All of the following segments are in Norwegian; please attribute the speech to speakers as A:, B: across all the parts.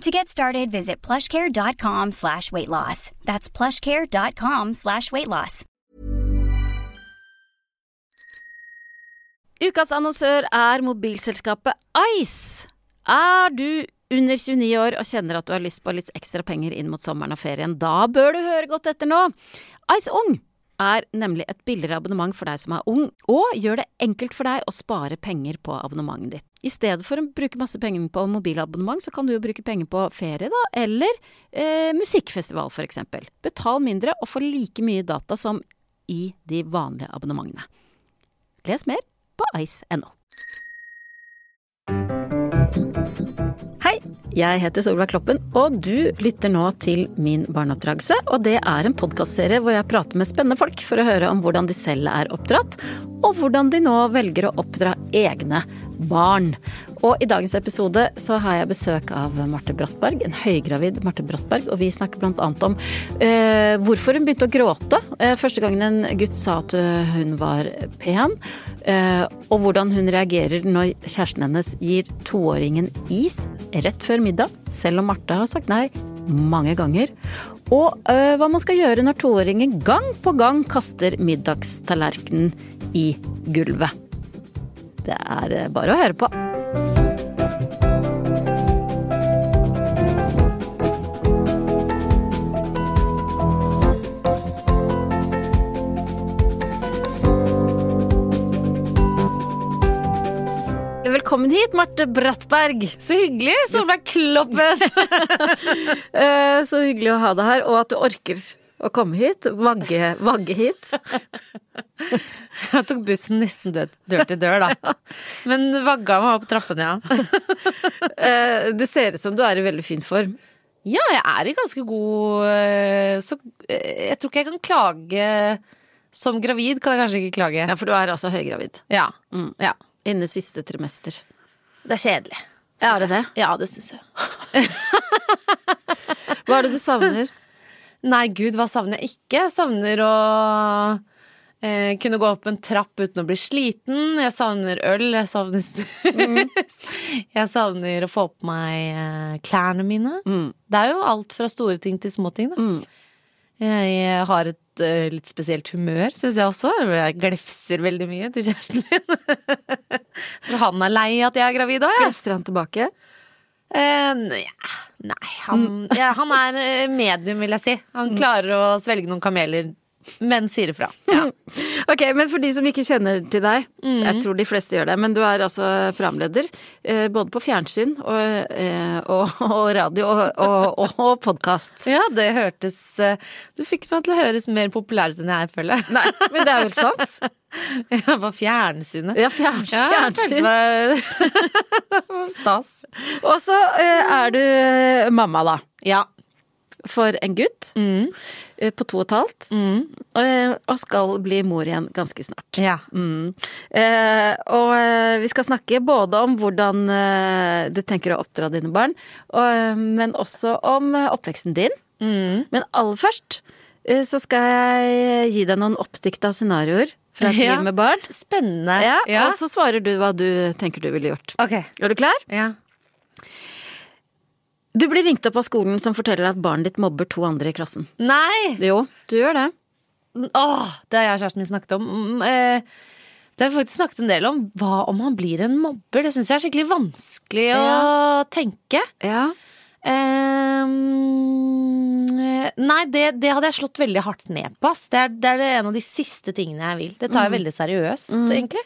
A: To get started, visit plushcare.com slash weight loss. That's plushcare.com slash weight loss.
B: Ukas annonsør er mobilselskapet Ice. Er du under 29 år og kjenner at du har lyst på litt ekstra penger inn mot sommeren og ferien, da bør du høre godt etter nå. Ice Ung er nemlig et billigere abonnement for deg som er ung, og gjør det enkelt for deg å spare penger på abonnementet ditt. I stedet for å bruke masse penger på mobilabonnement, så kan du jo bruke penger på ferie, da, eller eh, musikkfestival, for eksempel. Betal mindre og få like mye data som i de vanlige abonnementene. Les mer på ice.no. Hei, jeg heter Solveig Kloppen, og du lytter nå til Min barneoppdragelse. Og det er en podkastserie hvor jeg prater med spennende folk for å høre om hvordan de selv er oppdratt, og hvordan de nå velger å oppdra egne barn. Og i dagens episode så har jeg besøk av Marte Brattberg, en høygravid Marte Brattberg, og vi snakker blant annet om eh, hvorfor hun begynte å gråte eh, første gangen en gutt sa at eh, hun var pen, eh, og hvordan hun reagerer når kjæresten hennes gir toåringen is rett før middag, selv om Marte har sagt nei mange ganger. Og øh, hva man skal gjøre når toåringen gang på gang kaster middagstallerkenen i gulvet. Det er øh, bare å høre på. Velkommen hit, Marte Brattberg.
C: Så hyggelig! Solveig Kloppen!
B: Eh, så hyggelig å ha deg her, og at du orker å komme hit. Vagge, vagge hit.
C: Jeg tok bussen nesten død, dør til dør, da. Men vagga meg opp trappene, ja.
B: Eh, du ser ut som du er i veldig fin form.
C: Ja, jeg er i ganske god eh, Så eh, jeg tror ikke jeg kan klage Som gravid kan jeg kanskje ikke klage.
B: Ja, for du er altså høygravid.
C: Ja.
B: Mm.
C: ja.
B: Inne siste trimester.
C: Det er kjedelig.
B: Er det det?
C: Ja, det syns jeg.
B: Hva er det du savner?
C: Nei, gud, hva savner jeg ikke? Jeg savner å eh, kunne gå opp en trapp uten å bli sliten. Jeg savner øl, jeg savner snus. Mm. Jeg savner å få på meg eh, klærne mine. Det er jo alt fra store ting til små ting, da.
B: Mm.
C: Jeg har et eh, litt spesielt humør, syns jeg også. Jeg glefser veldig mye til kjæresten min. For han er lei at jeg er gravid òg, jeg.
B: Glefser han tilbake?
C: Eh, nei, nei han,
B: Mm.
C: ja, han er eh, medium, vil jeg si. Han klarer å svelge noen kameler, men sier ifra. Ja.
B: Ok, men for de som ikke kjenner til deg, jeg tror de fleste gjør det, men du er altså programleder eh, både på fjernsyn og, eh, og, og radio og, og, og podkast.
C: ja, det hørtes eh, Du fikk meg til å høres mer populær ut enn jeg er, føler jeg.
B: Nei, men det er vel sant?
C: Jeg var fjernsynet.
B: Ja, fjerns, fjernsyn.
C: Stas.
B: Og så eh, er du mamma, da.
C: Ja.
B: For en gutt eh, på to og et halvt. eh, Og skal bli mor igjen ganske snart.
C: Mm, ja.
B: Mm. Eh, og eh, vi skal snakke både om hvordan eh, du tenker å oppdra dine barn, og, eh, men også om eh, oppveksten din.
C: Mm.
B: Men aller først eh, så skal jeg gi deg noen oppdikta scenarioer fra et
C: Ja.
B: liv med barn.
C: Spennende.
B: Ja, Og så svarer du hva du tenker du ville gjort.
C: Ok.
B: Er du klar?
C: Ja.
B: Du blir ringt opp av skolen som forteller at barnet ditt mobber to andre i klassen.
C: Nei!
B: Jo, du gjør det.
C: Åh, det har jeg og kjæresten min snakket om. Mm, eh, Det har vi faktisk snakket en del om. Hva om han blir en mobber? Det syns jeg er skikkelig vanskelig å tenke.
B: Ja.
C: Ehm, eh, nei, det, det hadde jeg slått veldig hardt ned på. Ass. Det, er, det er det en av de siste tingene jeg vil. Det tar jeg veldig seriøst, egentlig.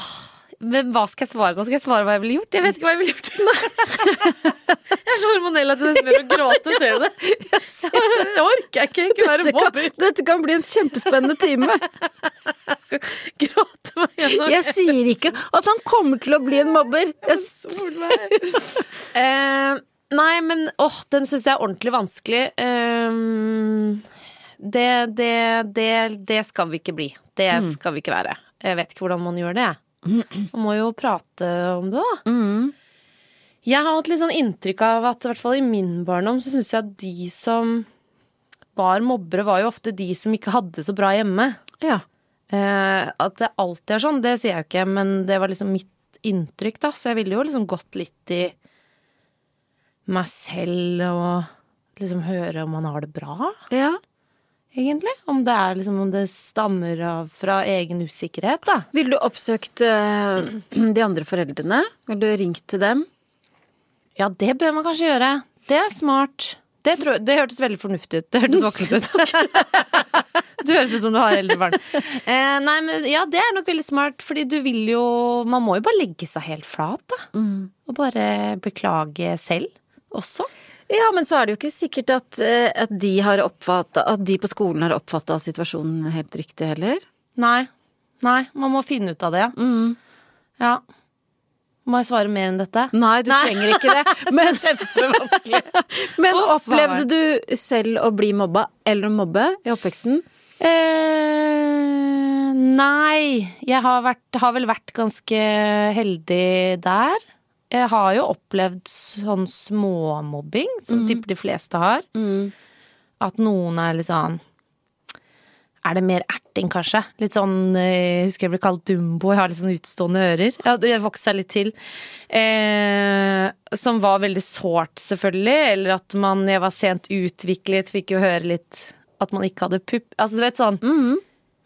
C: Åh, men hva skal jeg svare nå? Skal jeg svare hva jeg ville gjort? Jeg vet ikke hva jeg ville gjort. jeg er så hormonell at jeg nesten begynner å gråte. Ser du det? Det orker jeg ikke. Ikke være
B: Dette kan,
C: mobber.
B: dette kan bli en kjempespennende time.
C: Gråte meg gjennom
B: Jeg sier ikke at han kommer til å bli en mobber. Jeg
C: Eh, nei, men åh, den syns jeg er ordentlig vanskelig. Eh, Det, det, det, det skal vi ikke bli. Det skal vi ikke være. Jeg vet ikke hvordan man gjør det. Man må jo prate om det, da.
B: Mm.
C: Jeg har hatt litt sånn inntrykk av at i hvert fall i min barndom så syns jeg at de som var mobbere, var jo ofte de som ikke hadde det så bra hjemme.
B: Ja.
C: Eh, at det alltid er sånn, det sier jeg jo ikke, men det var liksom mitt inntrykk, da. Så jeg ville jo liksom gått litt i meg selv og liksom høre om man har det bra,
B: ja.
C: egentlig. Om det er liksom om det stammer av fra egen usikkerhet, da.
B: Ville du oppsøkt eh, de andre foreldrene? Ville du ringt til dem?
C: Ja, det bør man kanskje gjøre. Det er smart. Det, tror, jeg- det hørtes veldig fornuftig ut. Det hørtes voksent ut. du høres ut som du har eldre barn. Eh, nei, men ja, det er nok veldig smart, fordi du vil jo Man må jo bare legge seg helt flat, da.
B: Mm.
C: Og bare beklage selv også.
B: Ja, men så er det jo ikke sikkert at, eh, at, de, har oppfattet, at de på skolen har oppfatta situasjonen helt riktig heller.
C: Nei. Nei, man må finne ut av det, ja.
B: Mm.
C: ja. Må jeg svare mer enn dette?
B: Nei, du trenger ikke det. Men,
C: Kjempevanskelig.
B: men
C: Å,
B: opplevde
C: faen.
B: du selv å bli mobba eller å mobbe i oppveksten?
C: Eh, nei. Jeg har, vært, har vel vært ganske heldig der. Jeg har jo opplevd sånn småmobbing, som tipper de fleste har.
B: Mm,
C: At noen er litt sånn Er det mer erting, kanskje? Litt sånn eh, Jeg husker jeg ble kalt Dumbo. Jeg har litt sånn utstående ører. Jeg hadde- Jeg vokste litt til. Eh, som var veldig sårt, selvfølgelig. Eller at man Jeg var sent utviklet, fikk jo høre litt at man ikke hadde pupp. Altså, du vet sånn.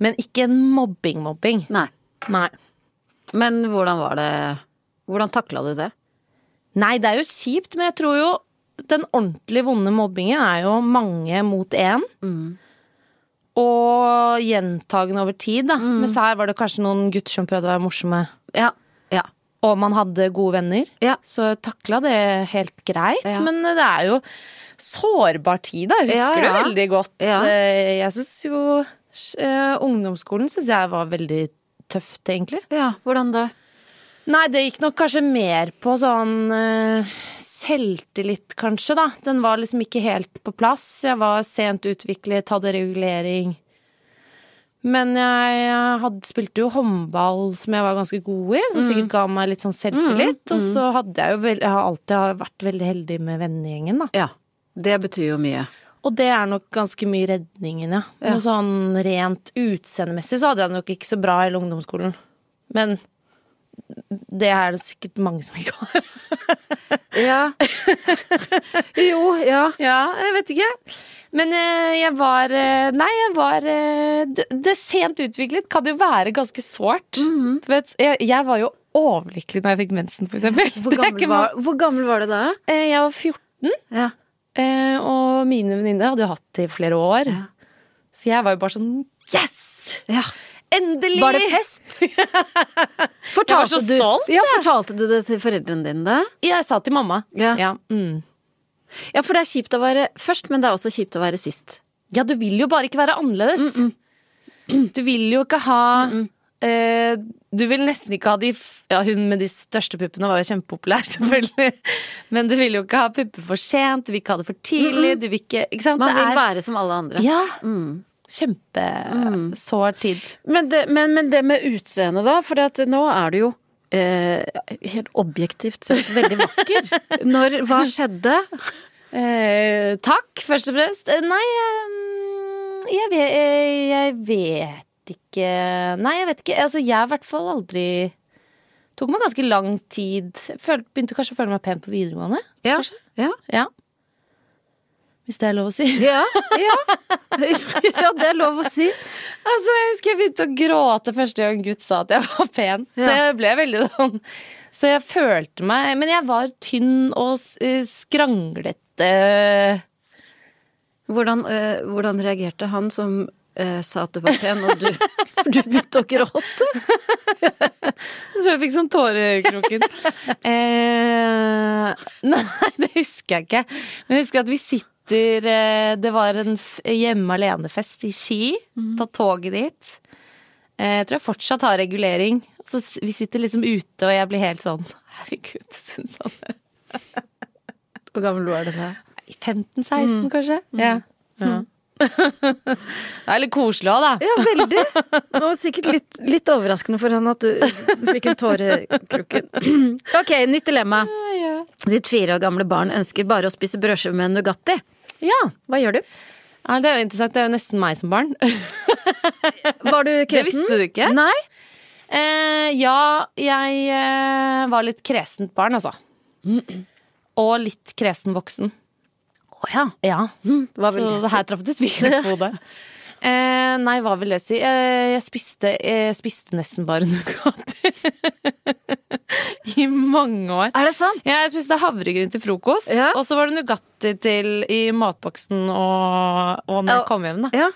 C: Men ikke en mobbing-mobbing.
B: Nei.
C: Nei.
B: Men hvordan var det Hvordan takla du det?
C: Nei, det er jo kjipt, men jeg tror jo den ordentlig vonde mobbingen er jo mange mot én.
B: Mm.
C: Og gjentagende over tid, da.
B: Mm.
C: Mens her var det kanskje noen gutter som prøvde å være morsomme.
B: Ja. Ja.
C: Og man hadde gode venner.
B: Ja.
C: Så jeg takla det helt greit.
B: Ja.
C: Men det er jo sårbar tid, da. Jeg
B: Ja, ja.
C: husker det veldig godt.
B: Ja.
C: Eh, Jeg syns jo eh, Ungdomsskolen syns jeg var veldig tøft, egentlig.
B: ja. Hvordan da?
C: Nei, det gikk nok kanskje mer på sånn eh, selvtillit, kanskje, da. Den var liksom ikke helt på plass. Jeg var sent utviklet, hadde regulering. Men jeg hadde, spilte jo håndball, som jeg var ganske god i, som sikkert ga meg litt sånn selvtillit. Og så hadde jeg jo vel- jeg har alltid vært veldig heldig med vennegjengen, da.
B: Ja. Det betyr jo mye.
C: Og det er nok ganske mye redningen, ja. Men sånn rent utseendemessig så hadde jeg det nok ikke så bra i hele ungdomsskolen. Men det er det sikkert mange som ikke har.
B: Ja. jo, ja.
C: Ja, jeg vet ikke. Men eh, jeg var eh, Nei, jeg var eh, det, det sent utviklet kan jo være ganske sårt.
B: Mhm.
C: Du vet, jeg, jeg var jo overlykkelig når jeg fikk mensen, for eksempel.
B: Hvor
C: Det er
B: gammel,
C: ikke
B: var,
C: mange-
B: hvor gammel var du da?
C: Eh, Jeg var 14,
B: Ja.
C: eh, og mine venninner hadde jo hatt det i flere år. Så jeg var jo bare sånn Yes!
B: ja.
C: Endelig!
B: Var det fest?
C: Jeg var så
B: du,
C: stolt,
B: ja, fortalte du det til foreldrene dine da?
C: Jeg sa til mamma.
B: Ja.
C: Ja, mm.
B: Ja, for det er kjipt å være først, men det er også kjipt å være sist.
C: ja, du vil jo bare ikke være annerledes. Du vil jo ikke ha eh, Du vil nesten ikke ha de f- Ja, hun med de største puppene var jo kjempepopulær, selvfølgelig. Men du vil jo ikke ha pupper for sent, du vil ikke ha det for tidlig, du vil ikke Ikke sant?
B: Man
C: Det
B: vil
C: er-
B: være som alle andre. Mm.
C: Ja. Kjempesår tid.
B: Men, det, men, men det med utseendet, da? For at nå er du jo eh, helt objektivt sett veldig vakker. Når Hva skjedde?
C: Eh, takk, først og fremst. Eh, nei, eh, jeg vet, eh, jeg vet ikke Nei, jeg vet ikke. Altså, jeg har i hvert fall aldri Tok meg ganske lang tid. Føl, begynte kanskje å føle meg pen på videregående.
B: Ja. Ja.
C: Ja. Hvis det er lov å si.
B: Ja. ja. ja, det er lov å si.
C: Altså, jeg husker jeg begynte å gråte første gang en gutt sa at jeg var pen. Så
B: Ja.
C: jeg ble veldig sånn Så jeg følte meg Men jeg var tynn og s- eh, skranglete.
B: Hvordan, eh, hvordan reagerte han som eh, sa at du var pen, og du, du begynte å gråte?
C: Jeg tror jeg fikk sånn tårer i øyekroken. eh, nei, det husker jeg ikke. Men jeg husker at vi sitter eh, Det var en f- hjemme alene-fest i Ski. Ta toget dit. Eh, jeg tror jeg fortsatt har regulering. Så s- vi sitter liksom ute, og jeg blir helt sånn Herregud, syns han det?
B: Hvor gammel var du da?
C: 15-16, kanskje? Mhm. Ja. ja. Det er litt koselig òg, da.
B: Ja, veldig. Det var sikkert litt, litt overraskende for han at du fikk en tåre i krukken. Ok, nytt dilemma. Ditt fire år gamle barn ønsker bare å spise brødskive med en Nugatti.
C: Ja.
B: Hva gjør du?
C: ja, Det er jo interessant. Det er jo nesten meg som barn.
B: Var du kresen?
C: visste du ikke?
B: Nei.
C: Eh, ja, jeg eh, var litt kresent barn, altså. Og litt kresen voksen. Å ja. Hm,
B: Hva vil
C: Så
B: det
C: det
B: si?
C: her traff det svinger på hodet. Eh, nei, hva vil det si? Eh, jeg spiste, eh, spiste nesten bare Nugatti. I mange år.
B: Er det sant?
C: Ja, jeg spiste havregryn til frokost,
B: Ja.
C: og så var det Nugatti til i matboksen og, og når
B: Ja.
C: jeg kom hjem, da.
B: Ja.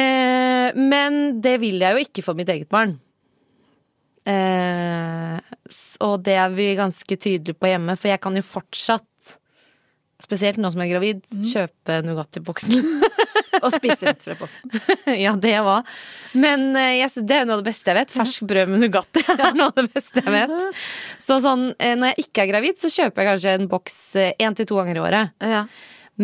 C: Eh, men det vil jeg jo ikke for mitt eget barn. Eh, s- og det er vi ganske tydelige på hjemme, for jeg kan jo fortsatt Spesielt nå som jeg er gravid, kjøpe Nugatti-boksen.
B: Og spise rett fra boksen.
C: ja, det var. Men eh, jeg synes det er noe av det beste jeg vet. Fersk brød med Nugatti er noe av det beste jeg vet. Så sånn, eh, når jeg ikke er gravid, så kjøper jeg kanskje en boks eh, én til to ganger i året.
B: Ja.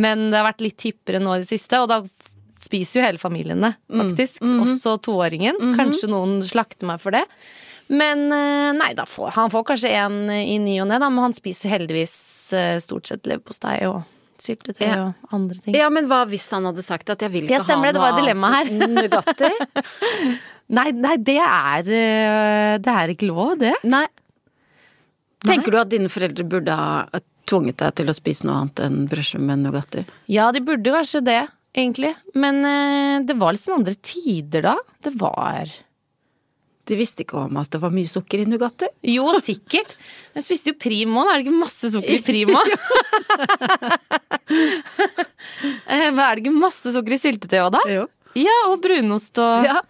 C: Men det har vært litt hyppigere nå i det siste, og da f- spiser jo hele familien det, faktisk. Også toåringen. Kanskje noen slakter meg for det. Men eh, nei, da får, han får kanskje en i ny og ne, da, men han spiser heldigvis eh, stort sett leverpostei og syltetøy
B: Ja.
C: og andre ting.
B: ja, men hva hvis han hadde sagt at jeg vil ikke
C: Ja, stemmer det, det
B: ha
C: var et dilemma her.
B: Nugatti?
C: Nei, nei, det er eh, Det er ikke lov, det.
B: Nei. Tenker du at dine foreldre burde ha tvunget deg til å spise noe annet enn brødskive med Nugatti?
C: Ja, de burde kanskje det, egentlig. Men eh, det var litt sånn andre tider da. Det var
B: De visste ikke om at det var mye sukker i Nugatti.
C: Jo, sikkert. Men jeg spiste jo Primo. Da er det ikke masse sukker i Primo. Eh, Men er det ikke masse sukker i syltetøy òg, da?
B: Jo.
C: Ja, og brunost og
B: Ja.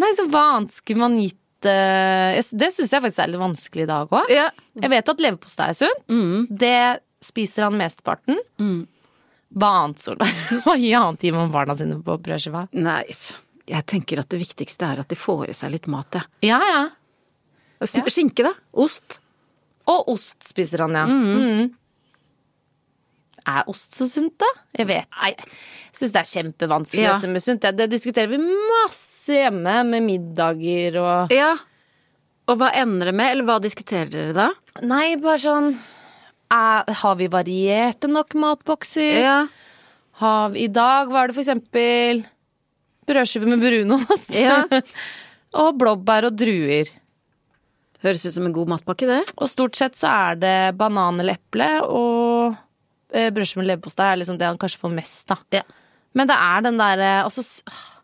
C: Nei, så hva annet skulle man gitt eh, jeg s- Det syns jeg faktisk er litt vanskelig i dag òg.
B: Ja.
C: Jeg vet at leverpostei er sunt.
B: Mm,
C: Det spiser han mesteparten. Hva annet, Solveig? Hva gir annet gir man barna sine på brødskiva?
B: Nei, f- jeg tenker at det viktigste er at de får i seg litt mat, jeg.
C: Ja, ja.
B: Og s- Skinke, da. Ost.
C: Og ost spiser han, ja. Mhm. Er ost så sunt, da? Jeg vet Jeg syns det er kjempevanskelig
B: Ja.
C: dette med sunt. Det, det diskuterer vi masse hjemme med middager og
B: Ja. Og hva ender det med, eller hva diskuterer dere da?
C: Nei, bare sånn er, Har vi varierte nok matbokser? Har vi, I dag var det for eksempel brødskive med brunost.
B: Ja.
C: og blåbær og druer.
B: Høres ut som en god matpakke, det.
C: Og stort sett så er det banan eller eple og eh, brødskive med leverpostei er liksom det han kanskje får mest, da.
B: Ja.
C: Men det er den derre Og så s- ah,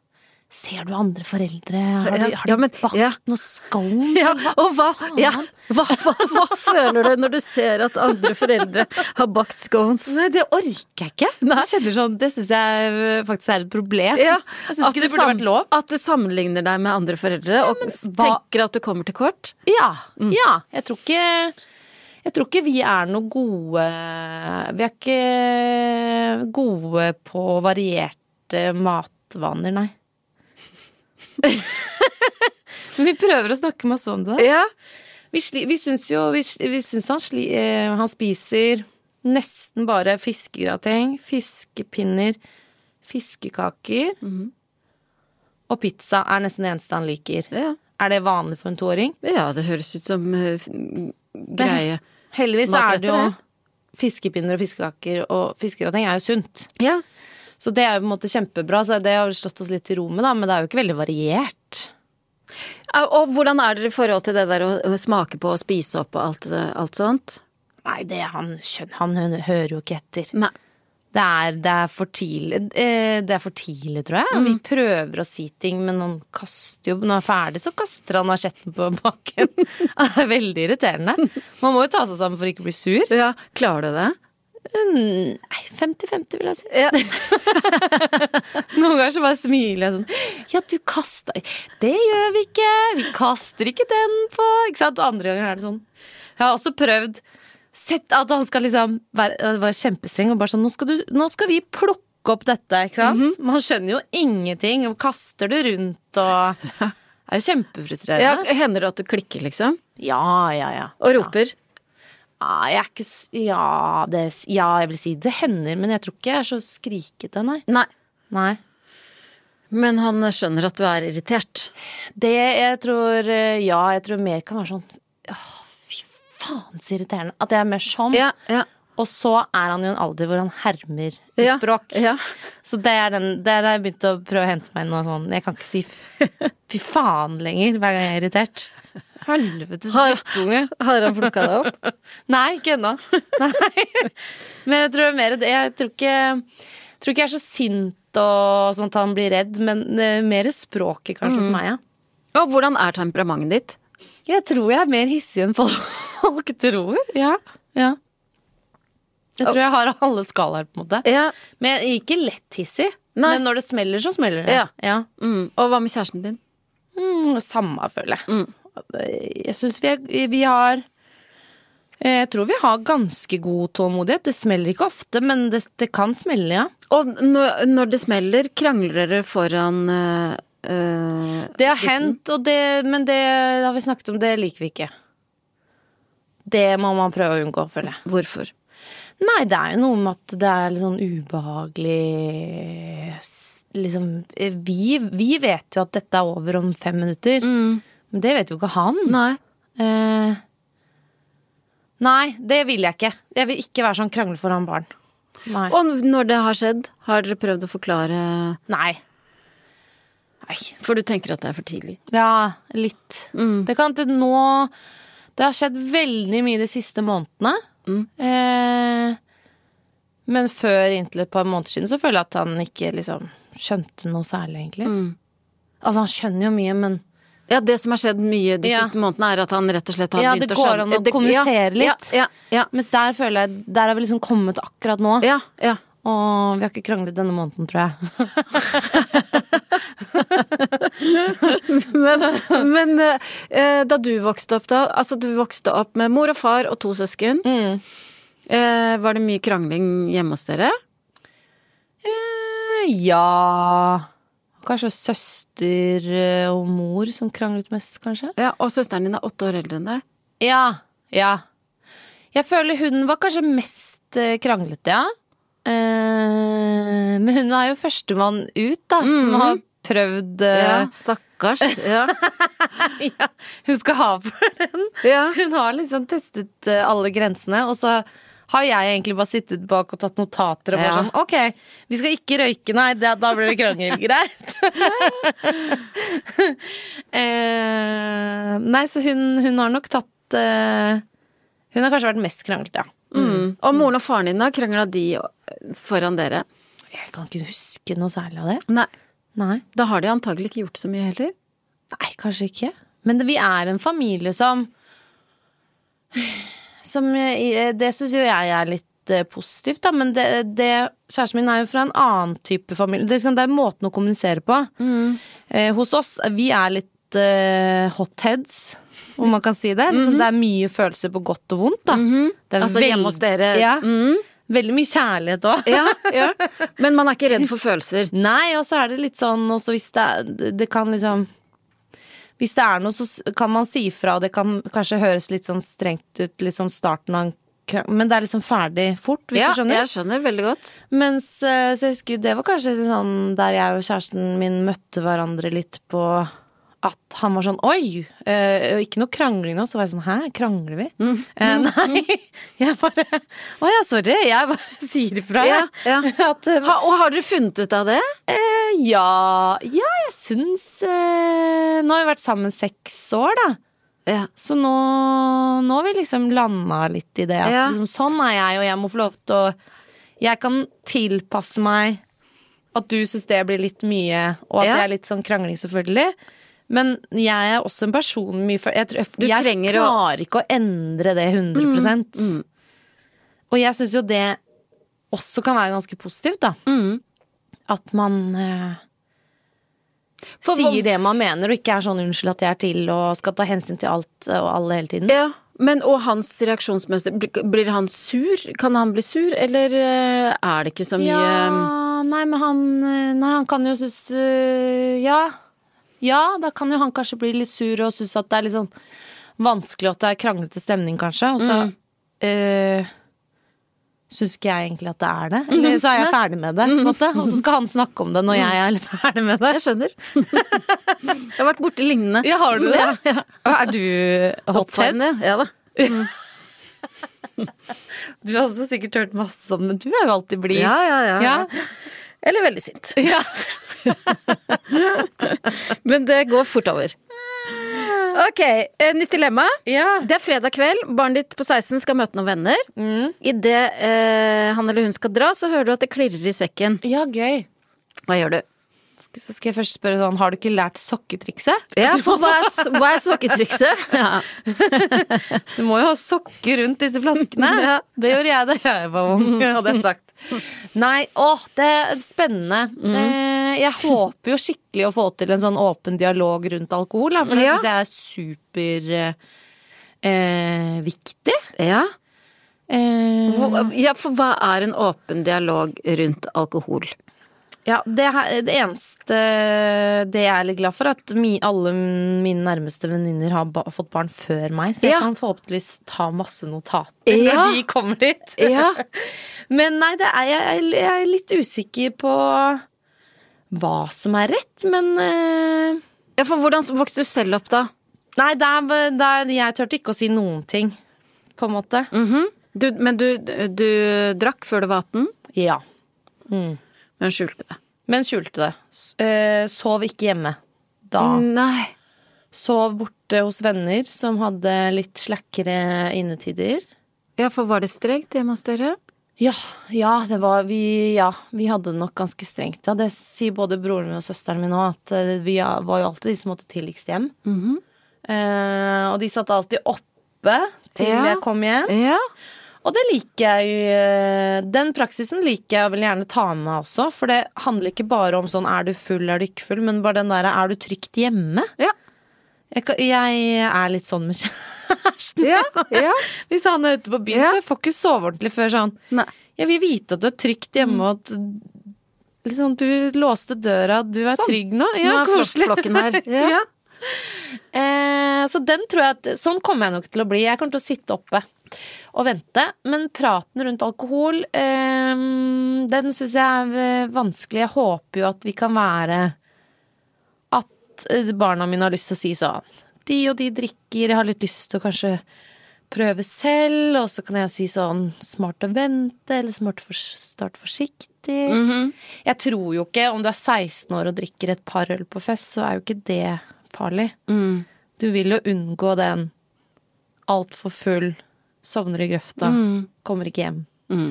C: ser du andre foreldre. Har de,
B: Ja,
C: har de
B: ja, men-
C: bakt
B: ja.
C: noe scones?
B: Ja, og hva, ja, hva, hva, hva føler du når du ser at andre foreldre har bakt scones?
C: Nei, det orker jeg ikke.
B: Nei.
C: Jeg kjenner sånn, Det syns jeg eh, faktisk er et problem.
B: Ja,
C: Jeg syns
B: at
C: ikke det
B: du
C: burde
B: sam-
C: vært lov.
B: At du sammenligner deg med andre foreldre og s-
C: hva-
B: tenker at du kommer til kort.
C: Ja. ja. Jeg tror ikke jeg tror ikke vi er noe gode Vi er ikke gode på varierte matvaner, nei. Men vi prøver å snakke masse om det.
B: Ja.
C: Vi, sli, vi syns jo vi, sli- vi syns han, sli, eh, han spiser nesten bare fiskegrateng, fiskepinner, fiskekaker. Og pizza er nesten det eneste han liker.
B: Ja.
C: Er det vanlig for en toåring?
B: ja, det høres ut som eh, f- greie.
C: Heldigvis så er det jo
B: Matretter,
C: fiskepinner og fiskekaker og fiskegrateng er jo sunt.
B: Ja.
C: Så det er jo på en måte kjempebra. Så det har jo slått oss litt i ro med, da, men det er jo ikke veldig variert.
B: Og hvordan er dere i forhold til det der å å smake på og spise opp og alt, eh, alt sånt?
C: Nei, det han skjønner Han hø- hører jo ikke etter.
B: Nei.
C: Det er, det er for tidlig, eh, det er for tidlig tror jeg. Vi prøver å si ting, men han kaster jo Når han er ferdig, så kaster han asjetten på bakken. det er veldig irriterende. Man må jo ta seg sammen for ikke å bli sur.
B: Ja, klarer du det?
C: Nei, 50-50, vil jeg si. Noen ganger så bare smiler jeg sånn. Ja, du kasta Det gjør vi ikke! Vi kaster ikke den på Ikke sant? Og andre ganger er det sånn. Jeg har også prøvd sett at han skal liksom være, være kjempestreng og bare sånn nå skal, du, 'Nå skal vi plukke opp dette', ikke sant? Men han skjønner jo ingenting og kaster det rundt og Det er jo
B: Ja,
C: kjempefrustrerende.
B: hender det at du klikker, liksom?
C: Ja, ja, ja.
B: Og roper?
C: Ah, jeg er ikke s- ja, det, s- ja, jeg vil si det hender, men jeg tror ikke jeg er så skrikete, nei.
B: Nei.
C: Nei.
B: Men han skjønner at du er irritert.
C: Det jeg tror eh, Ja, jeg tror mer kan være sånn Åh, fy faen så irriterende. At jeg er mer sånn.
B: ja.
C: Og så er han jo i en alder hvor han hermer i
B: Ja,
C: språk.
B: ja.
C: Så det er den, der har jeg begynt å prøve å hente meg inn noe sånn Jeg kan ikke si fy faen lenger hver gang jeg er irritert. Helvetes drittunge.
B: Har han plukka deg opp?
C: Nei, ikke ennå. Nei. Men jeg tror mer det Jeg tror ikke, tror ikke jeg er så sint og sånn at han blir redd, men eh, mer språket kanskje
B: Mm.
C: hos meg, ja.
B: Og hvordan er temperamentet ditt?
C: Jeg tror jeg er mer hissig enn folk, folk tror. Ja. ja. Jeg tror jeg har alle skalaer, på en måte.
B: Ja.
C: Men jeg er ikke lett hissig.
B: Nei.
C: Men når det smeller, så smeller det.
B: Ja. Mm. Og hva med kjæresten din?
C: Mm, samme, føler jeg. Jeg syns vi, er- vi har Jeg tror vi har ganske god tålmodighet. Det smeller ikke ofte, men det, det kan smelle, ja.
B: Og når, når det smeller, krangler dere foran eh, eh,
C: Det har hendt, og det, men det har vi snakket om, det liker vi ikke. Det må man prøve å unngå, føler jeg.
B: Hvorfor?
C: Nei, det er jo noe med at det er litt sånn ubehagelig s- Liksom eh, Vi, vi vet jo at dette er over om fem minutter, men det vet jo ikke han.
B: Nei.
C: Eh, nei, det vil jeg ikke. Jeg vil ikke være sånn krangle foran barn. Nei.
B: Og når det har skjedd, har dere prøvd å forklare
C: nei. Nei.
B: For du tenker at det er for tidlig.
C: Ja, litt.
B: Mm.
C: Det kan til nå Det har skjedd veldig mye de siste månedene.
B: Mm.
C: Eh, men før inntil et par måneder siden så føler jeg at han ikke liksom skjønte noe særlig, egentlig.
B: Mm.
C: Altså, han skjønner jo mye, men
B: Ja, det som har skjedd mye de
C: Ja.
B: siste månedene, er at han rett og slett har
C: Ja,
B: begynt
C: det
B: å skjønne
C: går an å
B: Det-
C: kommunisere litt.
B: Ja, ja,
C: Mens der føler jeg Der har vi liksom kommet akkurat nå.
B: ja, ja, ja.
C: Og vi har ikke kranglet denne måneden, tror jeg.
B: Men, men eh, da du vokste opp, da Altså, du vokste opp med mor og far og to søsken. Eh, var det mye krangling hjemme hos dere?
C: Eh, Ja Kanskje søster eh, og mor som kranglet mest, kanskje?
B: Ja, Og søsteren din er åtte år eldre enn deg.
C: Ja, ja. Jeg føler hun var kanskje mest eh, kranglete, ja. Eh, men hun er jo førstemann ut, da, som har prøvd eh,
B: Stakkars. Ja.
C: ja, Hun skal ha for den.
B: Ja.
C: Hun har liksom testet eh, alle grensene, og så har jeg egentlig bare sittet bak og tatt notater og bare
B: Ja.
C: sånn OK, vi skal ikke røyke, nei, det, da blir det krangel. Greit. eh, nei, så hun, hun har nok tatt eh, Hun har kanskje vært mest kranglete, ja.
B: Mm. Og moren og faren din, da? Krangla de foran dere?
C: Jeg kan ikke huske noe særlig av det.
B: Nei.
C: Nei,
B: Da har de antagelig ikke gjort så mye heller.
C: nei kanskje ikke. Men det, vi er en familie som Som eh, Det syns jo jeg er litt eh, positivt, da, men det, det Kjæresten min er jo fra en annen type familie. Det er sånn- det er måten å kommunisere på.
B: Mm.
C: Eh, hos oss, vi er litt eh, hotheads, om man kan si det. Liksom, Det er mye følelser på godt og vondt, da. Det er
B: Mhm. Altså hjemme hos dere.
C: Ja.
B: Mm.
C: Veldig mye kjærlighet òg.
B: Ja, ja. Men man er ikke redd for følelser.
C: Nei, og så er det litt sånn også hvis det, er- det kan liksom Hvis det er noe, så s- kan man si fra, og det kan kanskje høres litt sånn strengt ut, litt sånn starten av en krang- men det er liksom ferdig fort, hvis
B: Ja,
C: du skjønner.
B: jeg skjønner veldig godt.
C: Mens eh, så jeg husker, jo, det var kanskje litt sånn der jeg og kjæresten min møtte hverandre litt på at han var sånn oi, eh, ikke noe krangling nå. Så var jeg sånn hæ, krangler vi?
B: Mm.
C: Eh, nei. Jeg bare å ja, sorry. Jeg bare sier ifra, jeg.
B: Ja, ja.
C: At, eh,
B: Ha, og har dere funnet ut av det?
C: Eh, ja, ja, jeg syns eh, Nå har vi vært sammen seks år, da.
B: Ja.
C: Så nå, nå har vi liksom landa litt i det. At
B: Ja.
C: liksom, sånn er jeg, og jeg må få lov til å Jeg kan tilpasse meg at du syns det blir litt mye, og at
B: Ja.
C: jeg er litt sånn krangling, selvfølgelig. Men jeg er også en person med mye føl- Jeg, tror,
B: Du
C: jeg
B: trenger å- Mm,
C: klarer ikke å endre det 100 Og jeg syns jo det også kan være ganske positivt, da.
B: Mm.
C: At man eh,
B: For-
C: sier det man mener, og ikke er sånn 'unnskyld at jeg er til' og skal ta hensyn til alt og alle hele tiden.
B: Ja, men og hans reaksjonsmønster, bl- blir han sur? Kan han bli sur, eller eh, er det ikke så mye
C: eh,
B: mm?
C: Ja, nei, men han eh, Nei, han kan jo synes eh, Ja. Ja, da kan jo han kanskje bli litt sur og synes at det er litt sånn Mm. vanskelig og at det er kranglete stemning, kanskje. Og så eh, Syns ikke jeg egentlig at det er det. Eller så er jeg ferdig med det, på en måte. Og så skal han snakke om det når Mhm. jeg er ferdig med det.
B: Jeg skjønner. jeg har vært borti lignende.
C: Ja, har du det?
B: Ja,
C: Er du hothead?
B: Oppvarmende, ja da.
C: Du har også sikkert hørt masse sånn, men du er jo alltid blid.
B: Ja, ja, ja.
C: Ja.
B: Eller veldig sint.
C: Ja.
B: Men det går fort over. Ok, eh, nytt dilemma.
C: Ja.
B: Det er fredag kveld. Barnet ditt på 16 skal møte noen venner.
C: Mm.
B: Idet eh, han eller hun skal dra, så hører du at det klirrer i sekken.
C: ja, gøy.
B: Hva gjør du?
C: Så skal jeg først spørre sånn, har du ikke lært sokketrikset?
B: Ja, for hva er, s- hva er sokketrikset? Ja.
C: Du må jo ha sokker rundt disse flaskene.
B: Ja.
C: Det gjorde jeg da jeg var ung, hadde jeg sagt. Nei, åh, det er spennende. Eh, Jeg håper jo skikkelig å få til en sånn åpen dialog rundt alkohol, da, for det
B: Ja.
C: syns jeg er super eh, viktig.
B: Ja.
C: Eh,
B: Hvor- ja, for hva er en åpen dialog rundt alkohol?
C: Ja, det, her- det eneste det jeg er litt glad for, er at mi, alle mine nærmeste venninner har ba, fått barn før meg, så jeg
B: Ja.
C: kan forhåpentligvis ta masse notater
B: Ja. Eh.
C: når de kommer dit.
B: Ja.
C: Men nei, det er, jeg, jeg er litt usikker på hva som er rett, men eh,
B: ja, for hvordan vokste du selv opp da?
C: Nei, det er, det er, jeg turte ikke å si noen ting, på en måte.
B: Mhm. du, men du, du drakk før du var 18,
C: Ja.
B: men skjulte det.
C: Men skjulte det. S eh, sov ikke hjemme da.
B: Nei.
C: Sov borte hos venner som hadde litt slakkere innetider.
B: Ja, for var det strengt hjemme hos dere?
C: Ja, ja, det var vi Ja, vi hadde det nok ganske strengt. Ja, det sier både broren min og søsteren min òg, at eh, vi var jo alltid de som måtte tidligst hjem.
B: Mhm.
C: eh, og de satt alltid oppe til
B: Ja.
C: jeg kom hjem.
B: Ja.
C: Og det liker jeg jo eh, Den praksisen liker jeg og vil gjerne ta med meg også, for det handler ikke bare om sånn er du full, er du ikke full, men bare den derre er du trygt hjemme?
B: Ja.
C: Jeg, kan- jeg er litt sånn med kjæresten.
B: Ja. ja.
C: Hvis han er ute på byen,
B: Ja.
C: så jeg får ikke sove ordentlig før sånn.
B: Nei.
C: Jeg vil vite at du er trygt hjemme, og at liksom, du låste døra, du er
B: Sånn.
C: trygg nå.
B: Nå
C: Ja,
B: er flok-
C: koselig.
B: flokken her. Ja.
C: Ja. Eh, så den tror jeg at Sånn kommer jeg nok til å bli. Jeg kommer til å sitte oppe og vente. Men praten rundt alkohol, eh, den syns jeg er eh, vanskelig. Jeg håper jo at vi kan være At eh, barna mine har lyst til å si sånn De og de drikker, jeg har litt lyst til å kanskje prøve selv, og så kan jeg si sånn smart å vente, eller smart å fors- starte forsiktig.
B: Mm. Mhm.
C: Jeg tror jo ikke om du er 16 år og drikker et par øl på fest, så er jo ikke det farlig.
B: Mm.
C: Du vil jo unngå den altfor full, sovner i grøfta, kommer ikke hjem.
B: Mm.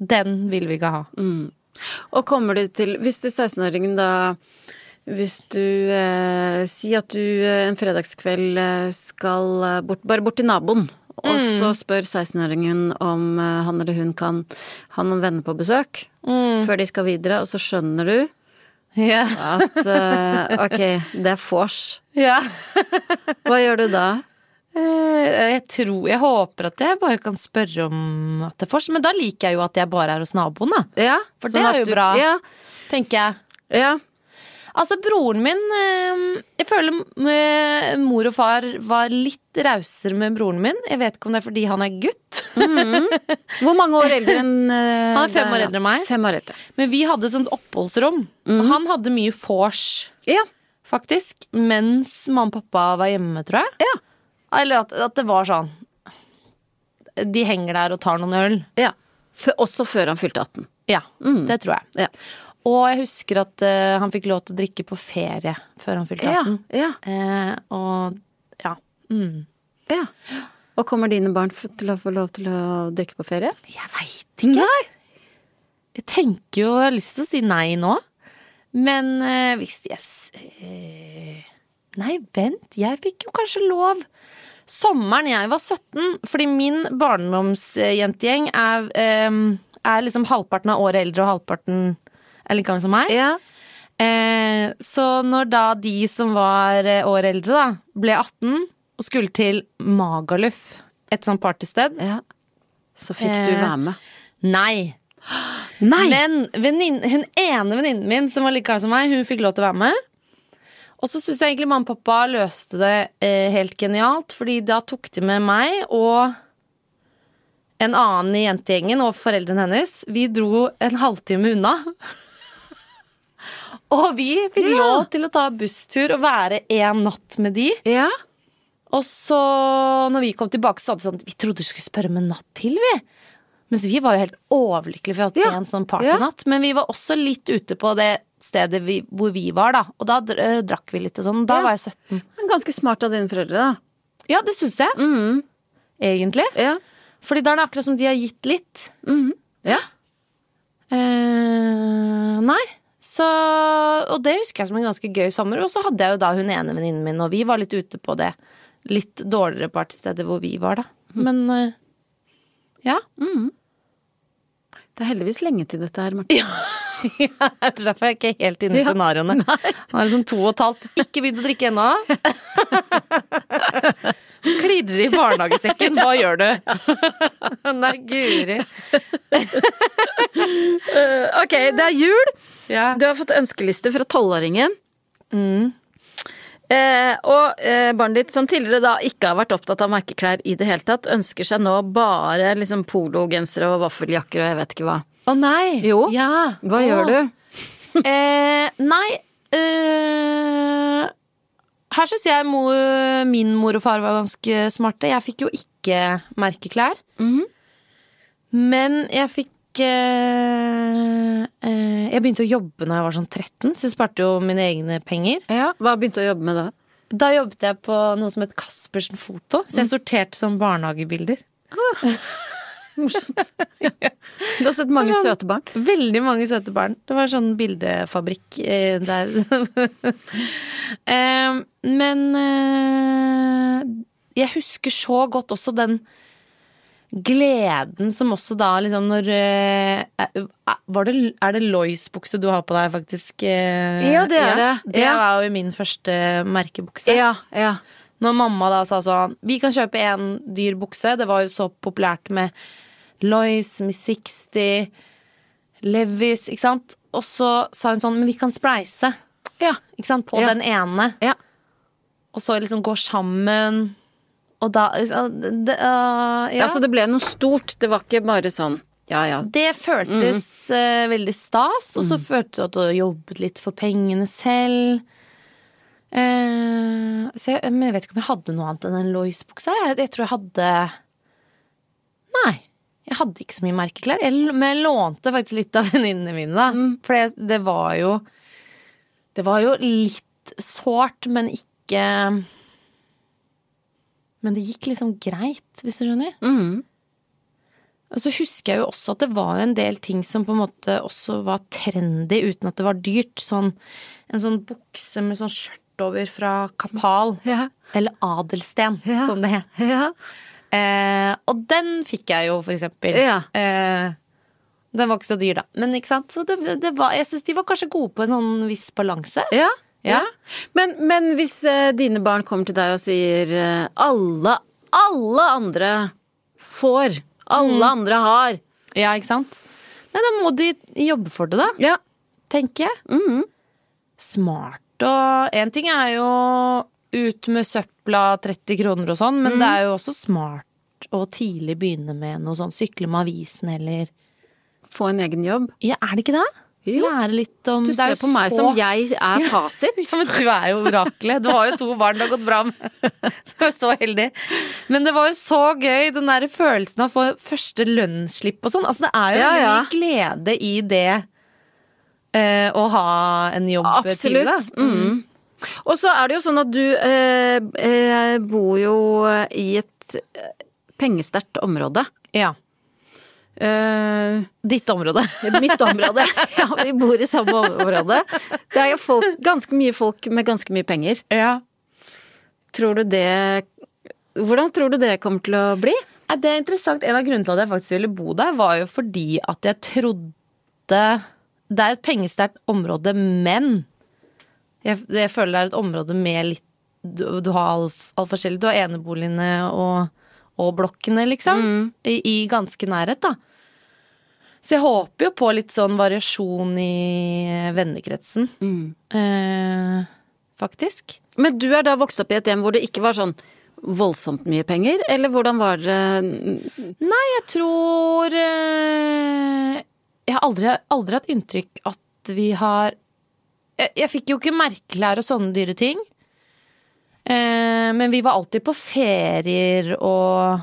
C: Den vil vi ikke ha.
B: Og kommer du til Hvis du 16-åringen da Hvis du eh, sier at du eh, en fredagskveld eh, skal eh, bort, bare bort til naboen, og
C: Mm.
B: så spør 16-åringen om eh, han eller hun kan ha noen venner på besøk før de skal videre, og så skjønner du
C: Mm. Ja.
B: at eh, ok, det er vors. Hva gjør du da?
C: Eh, Jeg tror Jeg håper at jeg bare kan spørre om at det er forskjell, men da liker jeg jo at jeg bare er hos naboen, da.
B: Ja,
C: For det
B: sånn at
C: er jo
B: du-
C: bra.
B: Ja,
C: Tenker jeg.
B: ja.
C: Altså, broren min eh, Jeg føler eh, mor og far var litt rausere med broren min. Jeg vet ikke om det er fordi han er gutt.
B: Hvor mange år eldre enn eh,
C: Han er fem
B: deg,
C: år
B: da?
C: eldre enn meg.
B: Fem år eldre.
C: Men vi hadde et sånt oppholdsrom. Og han hadde mye vors,
B: Ja.
C: faktisk, mens mamma og pappa var hjemme, tror jeg.
B: Ja.
C: Eller at, at det var sånn De henger der og tar noen øl.
B: ja. Fø- også før han fylte 18.
C: Ja, det tror jeg.
B: Mm. Ja.
C: Og jeg husker at eh, han fikk lov til å drikke på ferie før han fylte 18.
B: ja,
C: Eh, og ja. Mm.
B: ja. Og kommer dine barn f- til å få lov til å drikke på ferie?
C: Jeg veit ikke. Jeg tenker jo Jeg har lyst til å si nei nå. Men eh, hvis jeg s- eh, Nei, vent. Jeg fikk jo kanskje lov. Sommeren jeg var 17, fordi min barndomsjentegjeng er, eh, er liksom halvparten av året eldre og halvparten er like gammel som meg.
B: Ja.
C: Eh, så når da de som var eh, året eldre, da, ble 18 og skulle til Magaluf, et sånt partysted
B: Så fikk du
C: Eh,
B: være med.
C: Nei!
B: Nei!
C: Men vennin, hun ene venninnen min som var like gammel som meg, hun fikk lov til å være med. Og så syns jeg egentlig mamma og pappa løste det eh, helt genialt, fordi da tok de med meg og en annen i jentegjengen og foreldrene hennes. Vi dro en halvtime unna. Og vi fikk
B: Ja.
C: lov til å ta busstur og være en natt med de.
B: Ja.
C: Og så, når vi kom tilbake, så hadde de sånn Vi trodde du skulle spørre om en natt til, vi. Mens vi var jo helt overlykkelige for at vi
B: Ja.
C: hadde en sånn partynatt. Men vi var også litt ute på det stedet vi, hvor vi var, da. Og da dr- eh, drakk vi litt og sånn. Da
B: Ja.
C: var jeg 17.
B: Men ganske smart av dine foreldre, da. Mm,
C: Ja, det syns jeg. Egentlig.
B: Ja. Mm,
C: Fordi da er det akkurat som de har gitt litt.
B: ja.
C: Eh, nei. Så, og det husker jeg som en ganske gøy sommer. Og så hadde jeg jo da hun ene venninnen min, og vi var litt ute på det litt dårligere partystedet hvor vi var, da.
B: Mm.
C: Men eh, ja.
B: Det er heldigvis lenge til dette her, Marte.
C: Ja, jeg tror derfor jeg ikke er helt inne i
B: Ja.
C: scenarioene. Han er liksom to og et halvt, ikke begynt å drikke ennå. Klidrer i barnehagesekken, hva gjør du? Nei, guri.
B: Ok, det er jul.
C: Ja.
B: Du har fått ønskeliste fra tolvåringen. Eh, og eh, barnet ditt, som tidligere da ikke har vært opptatt av merkeklær i det hele tatt, ønsker seg nå bare liksom pologensere og vaffeljakker og jeg vet ikke hva.
C: Å nei.
B: Jo.
C: Ja.
B: Hva
C: Å.
B: gjør du?
C: Eh, nei eh, Her syns jeg mo, min mor og far var ganske smarte. Jeg fikk jo ikke merkeklær.
B: Mhm.
C: Men jeg fikk eh, eh, Jeg begynte å jobbe når jeg var sånn 13, så jeg sparte jo mine egne penger.
B: Ja, Hva begynte du å jobbe med da?
C: Da jobbet jeg på noe som het Caspersen Foto, så jeg sorterte som barnehagebilder.
B: Morsomt. Du har sett mange søte barn.
C: Veldig mange søte barn. Det var sånn bildefabrikk eh, der. eh, men eh, jeg husker så godt også den gleden som også da liksom når eh, er- var det, Er det Lois-bukse du har på deg, faktisk? eh,
B: Ja, det er det.
C: Det
B: Ja.
C: var jo min første merkebukse.
B: Ja, ja.
C: Når mamma da sa sånn Vi kan kjøpe en dyr bukse. Det var jo så populært med Lois, Miss 60, Levis, ikke sant. Og så sa hun sånn Men vi kan spleise,
B: Ja.
C: ikke sant, på
B: Ja.
C: den ene.
B: Ja.
C: Og så liksom gå sammen. Og da det, øh, ja.
B: Altså, det ble noe stort. Det var ikke bare sånn ja ja.
C: Det føltes eh, veldig stas, og så følte du at du hadde jobbet litt for pengene selv. Eh, så jeg, men jeg vet ikke om jeg hadde noe annet enn en Lois-bukse. Jeg, jeg tror jeg hadde Nei. Jeg hadde ikke så mye merkeklær. Jeg, l- men jeg lånte faktisk litt av venninnene mine. da. For det, det var jo Det var jo litt sårt, men ikke Men det gikk liksom greit, hvis du skjønner.
B: Mhm.
C: Og så husker jeg jo også at det var jo en del ting som på en måte også var trendy uten at det var dyrt. Sånn, en sånn bukse med sånn skjørt over fra Kapal.
B: Ja.
C: Eller Adelsten,
B: Ja.
C: som det het.
B: Ja.
C: Eh, og den fikk jeg jo, for eksempel.
B: Ja.
C: Eh, den var ikke så dyr, da. Men ikke sant? Så det, det var, jeg syns de var kanskje gode på en sånn viss balanse.
B: ja.
C: Ja.
B: Men, men hvis eh, dine barn kommer til deg og sier eh, alle, alle andre får, alle
C: Mm.
B: andre har
C: Ja, ikke sant? Nei, da må de jobbe for det, da.
B: Ja.
C: tenker jeg.
B: Mm-hmm.
C: Smart. Og én ting er jo ut med søpla 30 kroner og sånn,
B: Mm-hmm.
C: men det er jo også smart å tidlig begynne med noe sånn sykle med avisen eller
B: Få en egen jobb.
C: Ja, er det ikke det?
B: Jo.
C: Lære litt om
B: Du
C: Mm, det er
B: ser
C: jo
B: på meg
C: så-
B: som jeg er fasit.
C: ja, men du er jo oraklet. Du har jo to barn det har gått bra med. Du er så heldig. Men det var jo så gøy, den der følelsen av å få første lønnsslipp og sånn. Altså, det er jo
B: Ja,
C: veldig
B: ja.
C: mye glede i det eh, å ha en jobb til. da.
B: Absolutt. Mm. Og så er det jo sånn at du eh, eh, bor jo i et eh, pengesterkt område.
C: Ja.
B: Eh,
C: Ditt område.
B: mitt område. ja, vi bor i samme område. Det er jo folk, ganske mye folk med ganske mye penger.
C: Ja.
B: Tror du det Hvordan tror du det kommer til å bli?
C: Det er interessant. En av grunnene til at jeg faktisk ville bo der, var jo fordi at jeg trodde Det er et pengesterkt område, men jeg, jeg føler det er et område med litt Du, du har all, all forskjellig. Du har eneboligene og, og blokkene, liksom.
B: Mm.
C: I, I ganske nærhet, da. Så jeg håper jo på litt sånn variasjon i eh, vennekretsen. Eh, faktisk.
B: Men du er da vokst opp i et hjem hvor det ikke var sånn voldsomt mye penger, eller hvordan var det
C: Nei, jeg tror eh, Jeg har aldri, aldri hatt inntrykk at vi har Jeg, jeg fikk jo ikke merkelær og sånne dyre ting. Eh, men vi var alltid på ferier og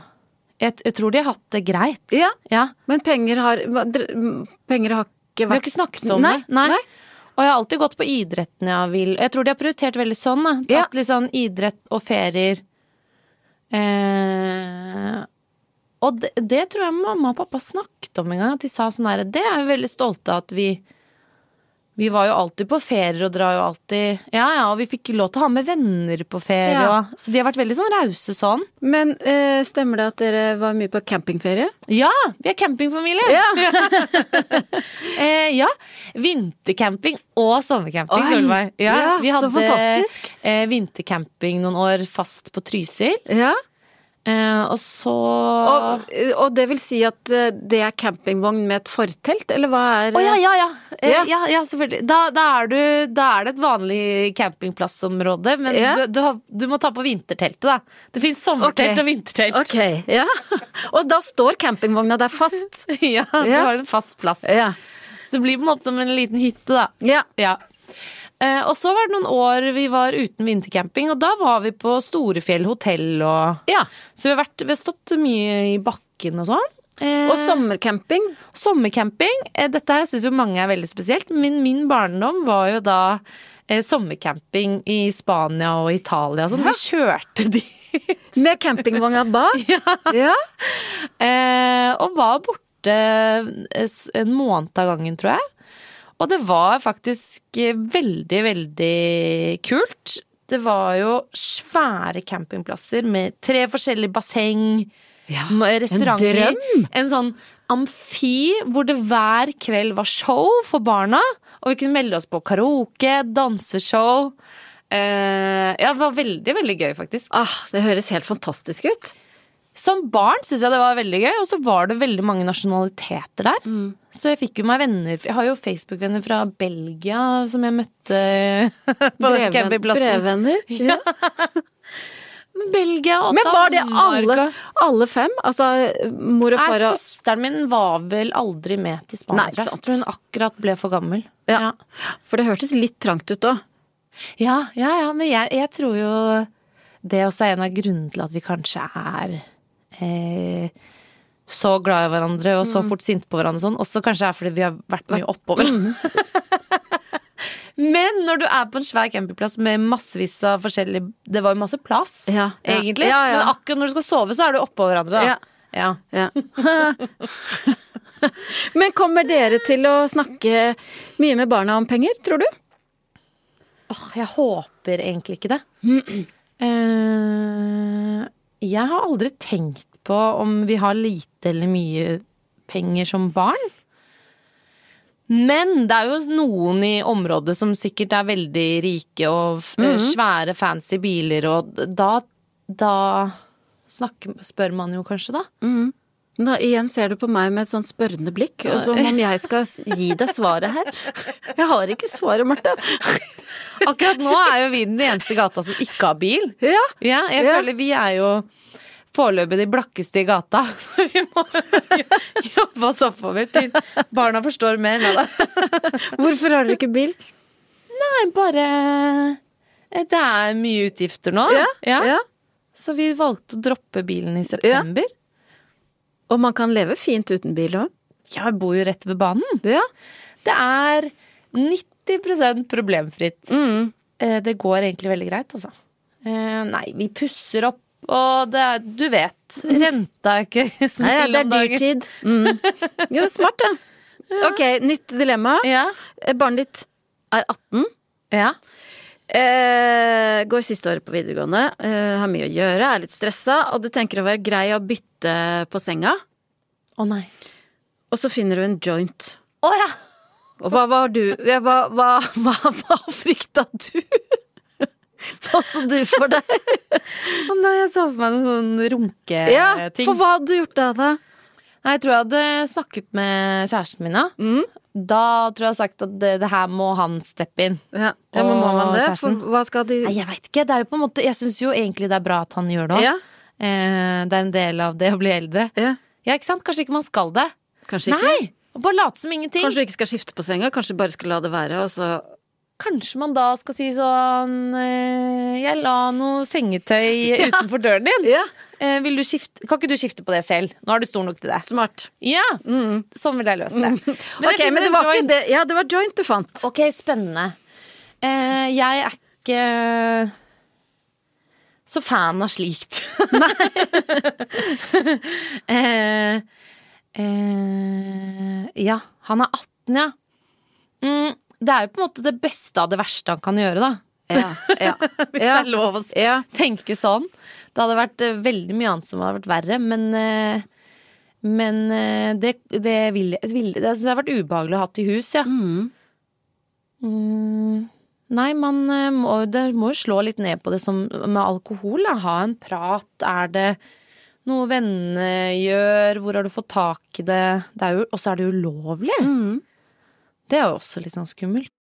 C: jeg, jeg tror de har hatt det greit.
B: Ja,
C: Ja.
B: men penger har hva- dere- Penger har ikke
C: Vi har
B: vært
C: ikke snakket om det. Nei. Og jeg har alltid gått på idretten jeg vil. Jeg tror de har prioritert veldig sånn. Da.
B: Ja.
C: At litt sånn idrett og ferier eh, Og det, det tror jeg mamma og pappa snakket om en gang. At de sa sånn her Det er vi veldig stolte av at vi vi var jo alltid på ferier og drar jo alltid Ja ja, og vi fikk lov til å ha med venner på ferie
B: Ja.
C: og Så de har vært veldig sånn rause sånn.
B: Men eh, stemmer det at dere var mye på campingferie?
C: Ja! Vi er campingfamilie!
B: Ja.
C: Eh, ja. Vintercamping og sommercamping.
B: Oi,
C: Solveig.
B: ja,
C: vi
B: så
C: hadde
B: fantastisk.
C: eh, vintercamping noen år fast på Trysil.
B: ja.
C: Eh, og så
B: Og, og det vil si at eh, det er campingvogn med et fortelt, eller hva er
C: Å ja, ja, ja. Eh,
B: Ja.
C: ja. ja, selvfølgelig. Da, da, er du, da er det et vanlig campingplassområde, men
B: Ja.
C: du, du, har, du må ta på vinterteltet, da. Det fins sommertelt
B: Ok.
C: og vintertelt.
B: Ok, ja. Og da står campingvogna der fast.
C: Ja, du
B: Ja. Eh.
C: har en fast plass.
B: Ja.
C: Så det blir på en måte som en liten hytte, da.
B: ja.
C: Ja. Eh, og så var det noen år vi var uten vintercamping, og da var vi på Storefjell hotell og
B: ja.
C: Så vi har vært, vi har stått mye i bakken og sånn. Eh,
B: Og sommercamping.
C: sommercamping. Eh, dette her syns jo mange er veldig spesielt, men min barndom var jo da eh, sommercamping i Spania og Italia og sånn. Vi kjørte de
B: Med campingvogna bak. Ja.
C: Eh, og var borte eh, s- en måned av gangen, tror jeg. Og det var faktisk eh, veldig, veldig kult. Det var jo svære campingplasser med tre forskjellige basseng, m- restauranter.
B: en
C: en sånn amfi hvor det hver kveld var show for barna. Og vi kunne melde oss på karaoke, danseshow. Eh, ja, det var veldig, veldig gøy, faktisk.
B: Ah, det høres helt fantastisk ut.
C: Som barn syntes jeg det var veldig gøy, og så var det veldig mange nasjonaliteter der.
B: Mm.
C: Så jeg fikk jo meg venner Jeg har jo Facebook-venner fra Belgia som jeg møtte på den
B: Breven-
C: campingplassen.
B: Brevvenner. Ja.
C: Belgia og
B: Men var det
C: Danmark
B: alle,
C: og-
B: alle fem? Altså mor og
C: Nei,
B: far og
C: søsteren min var vel aldri med til Spania,
B: Nei, ikke
C: tror jeg.
B: sant.
C: Jeg Tror hun akkurat ble for gammel.
B: ja. For det hørtes litt trangt ut òg.
C: ja, ja, ja, men jeg, jeg tror jo det også er en av grunnene til at vi kanskje er eh, så glad i hverandre og
B: Mm.
C: så fort sinte på hverandre og sånn. Også kanskje er fordi vi har vært mye oppover.
B: Mm.
C: Men når du er på en svær campingplass med massevis av forskjellig Det var jo masse plass,
B: Ja, ja.
C: egentlig.
B: Ja, ja.
C: Men akkurat når du skal sove, så er du oppå hverandre.
B: Ja.
C: Da. Ja.
B: Ja. Men kommer dere til å snakke mye med barna om penger, tror du?
C: Åh, jeg håper egentlig ikke det. Eh, jeg har aldri tenkt på om vi har lite eller mye penger som barn. Men det er jo noen i området som sikkert er veldig rike og f- eh, svære, fancy biler, og d- da, da snakker, spør man jo kanskje, da.
B: Nå, igjen ser du på meg med et sånn spørrende blikk, og som om jeg skal s- gi deg svaret her. Jeg har ikke svaret, Marte.
C: Akkurat nå er jo vi den eneste gata som ikke har bil.
B: Ja.
C: Ja, jeg
B: Ja.
C: føler vi er jo foreløpig de blakkeste i gata. Så vi må jobbe oss oppover til barna forstår mer. Nå, da.
B: Hvorfor har dere ikke bil?
C: Nei, bare Eh, Det er mye utgifter nå. Ja.
B: ja.
C: Så vi valgte å droppe bilen i september.
B: Og man kan leve fint uten bil òg.
C: Ja, jeg bor jo rett ved banen.
B: Ja.
C: Det er 90 problemfritt.
B: Mm.
C: Eh, Det går egentlig veldig greit, altså. Eh, Nei, vi pusser opp, og det er Du vet. Renta er ikke
B: Nei, ja,
C: snill
B: det
C: om
B: er
C: dagen.
B: dyrtid. Mm. Jo, smart, da. Ok, nytt dilemma.
C: Ja.
B: Eh, Barnet ditt er 18.
C: ja.
B: Eh, går siste året på videregående, eh, har mye å gjøre, er litt stressa, og du tenker å være grei å bytte på senga,
C: Å nei.
B: og så finner du en joint.
C: Å ja!
B: Og hva var du ja, Hva, hva, hva, hva frykta du? Hva så du for deg?
C: Å nei, jeg så for meg noen sånn
B: Eh,
C: runketing.
B: Ja, for hva hadde du gjort da, da?
C: Nei, jeg tror jeg hadde snakket med kjæresten min, ja.
B: Mm.
C: Da tror jeg jeg har sagt at det, det her må han steppe inn.
B: Ja, ja men må man
C: Åh,
B: det? For
C: kjæresten.
B: hva skal de
C: Nei, jeg veit ikke. Det er jo på en måte Jeg syns jo egentlig det er bra at han gjør det òg.
B: Ja,
C: Eh, det er en del av det å bli eldre.
B: ja.
C: Ja, ikke sant? Kanskje ikke man skal det.
B: Kanskje ikke.
C: Nei! Og bare late som ingenting.
B: Kanskje du ikke skal skifte på senga, kanskje du bare skal la det være, og så
C: Kanskje man da skal si sånn eh, Jeg la noe sengetøy utenfor døren din.
B: Ja,
C: Eh, vil du skifte? Kan ikke du skifte på det selv? Nå er du stor nok til det.
B: smart.
C: Ja, Sånn vil jeg løse det.
B: Mm. Men,
C: jeg
B: ok,
C: finner
B: men det
C: en
B: var ikke
C: joint.
B: det. Ja, det var joint du fant.
C: Ok, spennende. Eh, jeg er ikke så fan av slikt. Nei. eh, eh, ja, han er 18, ja. Mm, det er jo på en måte det beste av det verste han kan gjøre, da.
B: Ja, ja.
C: Hvis
B: ja.
C: det er lov å si
B: ja.
C: tenke sånn. Det hadde vært eh, veldig mye annet som hadde vært verre, men eh, men eh, det, det ville vil, Det synes jeg har vært ubehagelig å ha i hus, ja.
B: Mm.
C: Mm. Nei, man eh, må, det må jo slå litt ned på det som med alkohol. Da. Ha en prat. Er det noe vennene gjør? Hvor har du fått tak i det? det er jo, og så er det ulovlig.
B: Mm.
C: Det er jo også litt sånn skummelt.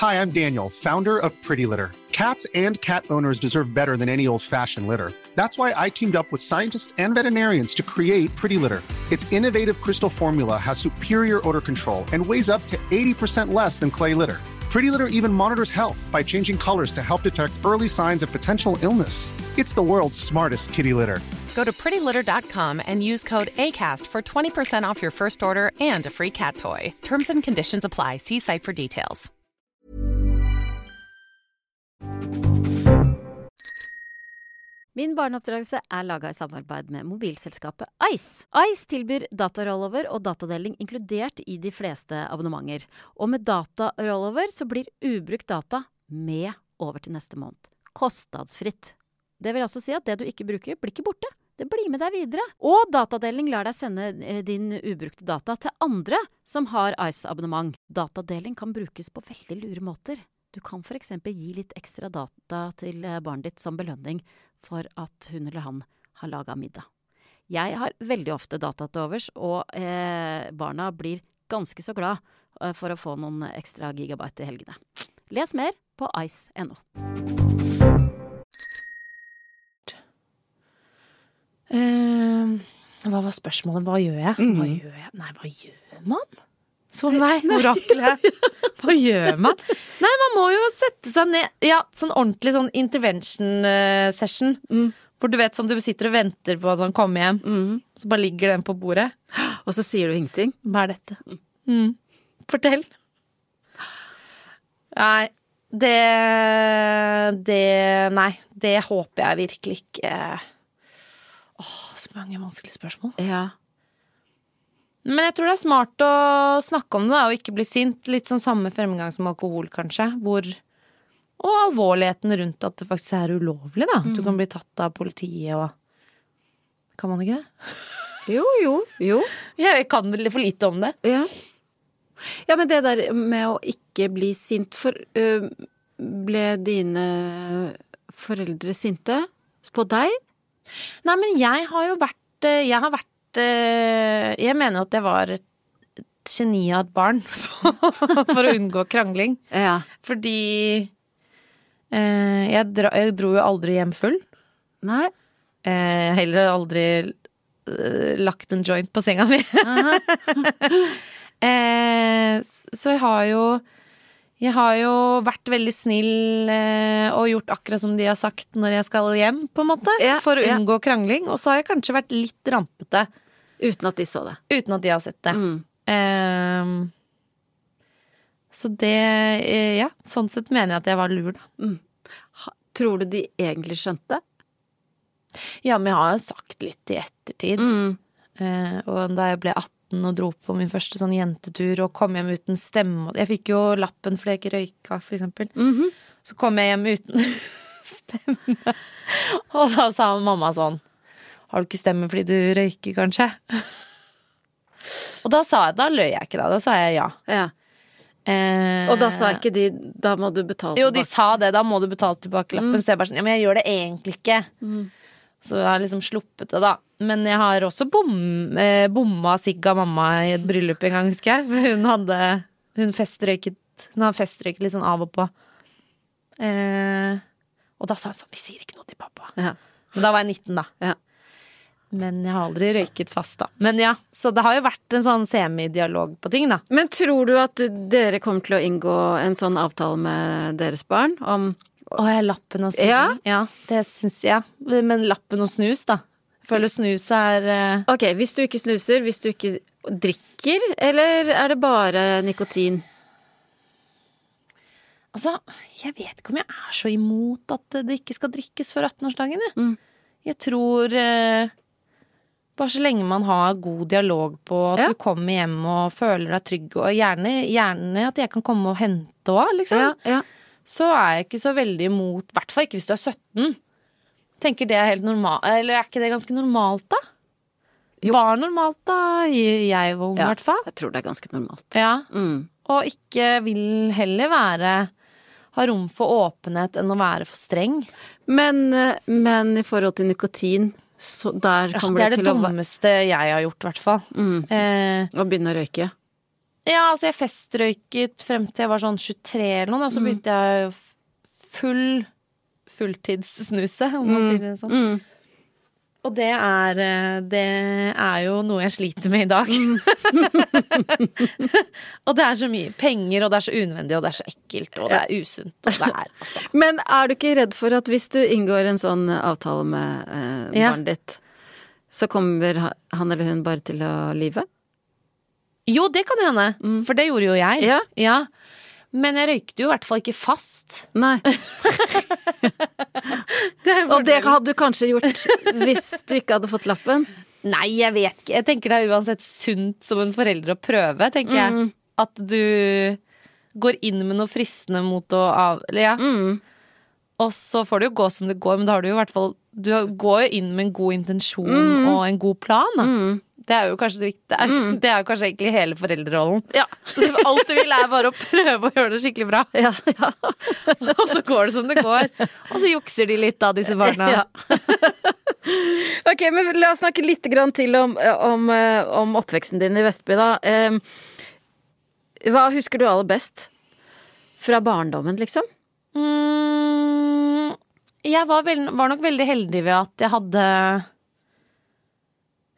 D: Hi, I'm Daniel, founder of Pretty Litter. Cats and cat owners deserve better than any old fashioned litter. That's why I teamed up with scientists and veterinarians to create Pretty Litter. Its innovative crystal formula has superior odor control and weighs up to 80% less than clay litter. Pretty Litter even monitors health by changing colors to help detect early signs of potential illness. It's the world's smartest kitty litter.
E: Go to prettylitter.com and use code ACAST for 20% off your first order and a free cat toy. Terms and conditions apply. See site for details.
B: Min barneoppdragelse er laga i samarbeid med mobilselskapet Ice. Ice tilbyr datarollover og datadeling inkludert i de fleste abonnementer. Og med datarollover så blir ubrukt data med over til neste måned. Kostnadsfritt. Det vil altså si at det du ikke bruker, blir ikke borte. Det blir med deg videre. Og datadeling lar deg sende eh, din ubrukte data til andre som har Ice-abonnement. Datadeling kan brukes på veldig lure måter. Du kan f.eks. gi litt ekstra data til eh, barnet ditt som belønning for at hun eller han har laga middag. Jeg har veldig ofte data til overs, og eh, barna blir ganske så glad eh, for å få noen ekstra gigabyte i helgene. Les mer på ice.no.
C: Eh, hva var spørsmålet? Hva gjør jeg? Hva gjør jeg? Nei, hva gjør man? Solveig, oraklet. Hva gjør man? Nei, man må jo sette seg ned Ja, sånn ordentlig sånn intervention eh, session. Hvor du vet sånn du sitter og venter på at han kommer hjem, så bare ligger den på bordet.
B: Og så sier du ingenting?
C: Hva er dette? Mm. Fortell. Nei, det Det Nei, det håper jeg virkelig ikke. Åh, så mange vanskelige spørsmål.
B: Ja.
C: Men jeg tror det er smart å snakke om det da, og ikke bli sint. Litt sånn samme fremgang som alkohol, kanskje. Hvor, og alvorligheten rundt at det faktisk er ulovlig. da. Du kan bli tatt av politiet og Kan man ikke det?
B: Jo, jo, jo.
C: Jeg kan vel for lite om det.
B: Ja. ja, men det der med å ikke bli sint for øh, Ble dine foreldre sinte på deg?
C: Nei, men jeg har jo vært eh, Jeg har vært eh, Jeg mener jo at jeg var et et geni av et barn for å unngå krangling.
B: Ja.
C: Fordi eh, jeg, dra, jeg dro jo aldri hjem full.
B: Nei?
C: Eh, heller aldri eh, lagt en joint på senga mi. eh, s- så jeg har jo jeg har jo vært veldig snill eh, og gjort akkurat som de har sagt når jeg skal hjem, på en måte.
B: Ja,
C: for å
B: ja.
C: unngå krangling. Og så har jeg kanskje vært litt rampete
B: Uten at de så det.
C: uten at de har sett det.
B: Mm.
C: Eh, så det eh, Ja, sånn sett mener jeg at jeg var lur, da.
B: Tror du de egentlig skjønte?
C: Ja, men jeg har jo sagt litt i ettertid.
B: Mm.
C: Eh, og da jeg ble 18 og dro på min første sånn jentetur og kom hjem uten stemme og- Jeg fikk jo lappen fordi jeg ikke røyka, for eksempel. Så kom jeg hjem uten stemme. Og da sa mamma sånn Har du ikke stemme fordi du røyker, kanskje? Og da sa jeg, da løy jeg ikke, da. Da sa jeg ja.
B: Ja.
C: Eh,
B: Og da sa ikke de 'da må du betale
C: jo, de
B: tilbake'? Mm.
C: sa det. Da må du betale tilbake lappen. Så jeg bare sånn, ja, men jeg gjør det egentlig ikke. Så jeg har liksom sluppet det, da. Men jeg har også bom, eh, bomma sigg av mamma i et bryllup en gang, husker jeg. Hun hadde Hun festrøyket Hun har festrøyket litt sånn av og på. Eh, og da sa hun sånn Vi sier ikke noe til pappa.
B: Ja.
C: Men Da var jeg 19, da.
B: Ja.
C: Men jeg har aldri røyket fast, da. Men ja, Så det har jo vært en sånn semidialog på ting, da.
B: Men tror du at du, dere kommer til å inngå en sånn avtale med deres barn om
C: Å, jeg lappen og sigg.
B: Ja.
C: det syns jeg. Men lappen og snus, da. Jeg føler
B: Mm.
C: snus er eh,
B: Ok, hvis du ikke snuser, hvis du ikke drikker, eller er det bare nikotin?
C: Altså, jeg vet ikke om jeg er så imot at det ikke skal drikkes før 18-årsdagen, jeg.
B: Mm.
C: Jeg tror eh, Bare så lenge man har god dialog på at
B: Ja.
C: du kommer hjem og føler deg trygg, og gjerne, gjerne at jeg kan komme og hente òg, liksom.
B: Ja, ja.
C: Så er jeg ikke så veldig imot, i hvert fall ikke hvis du er 17. Tenker det er helt normalt Eller er ikke det ganske normalt, da? Var normalt da jeg var ung, i
B: Ja,
C: hvert fall.
B: Jeg tror det er ganske normalt.
C: Ja.
B: Mm.
C: Og ikke vil heller være ha rom for åpenhet enn å være for streng.
B: Men, eh, men i forhold til nikotin, så der
C: Ja,
B: kommer
C: det er
B: du
C: det
B: til å,
C: dummeste jeg har gjort, i hvert fall.
B: Mm.
C: Eh,
B: å begynne å røyke.
C: ja, altså jeg festrøyket frem til jeg var sånn 23 eller noe, da,
B: Mm.
C: så begynte jeg full fulltidssnuse, om man sier det sånn.
B: Mm.
C: Og det er, eh, det er jo noe jeg sliter med i dag.
B: Mm.
C: og det er så mye penger, og det er så unødvendig, og det er så ekkelt, og det er usunt, og det er altså
B: Men er du ikke redd for at hvis du inngår en sånn avtale med eh,
C: Ja.
B: barnet ditt, så kommer ha- han eller hun bare til å lyve?
C: Jo, det kan hende,
B: Mm.
C: for det gjorde jo jeg.
B: Ja.
C: Men jeg røykte jo i hvert fall ikke fast.
B: Nei. Og det hadde du kanskje gjort hvis du ikke hadde fått lappen.
C: Nei, jeg vet ikke. Jeg tenker det er uansett sunt som en forelder å prøve, tenker jeg. At du går inn med noe fristende mot å av... Eller ja. Og så får det jo gå som det går, men da har du jo i hvert fall Du går jo inn med en god intensjon og en god plan, da. Det er jo kanskje det viktige. Det er- Det er jo kanskje egentlig hele foreldrerollen. Alt du vil, er bare å prøve å gjøre det skikkelig bra.
B: Ja, ja.
C: Og så går det som det går. Og så jukser de litt, da, disse barna.
B: Ja. ok, men la oss snakke litt grann til om, om, eh, om oppveksten din i Vestby, da. Em, Hva husker du aller best? Fra barndommen, liksom?
C: Mm, jeg var, vel, var nok veldig heldig ved at jeg hadde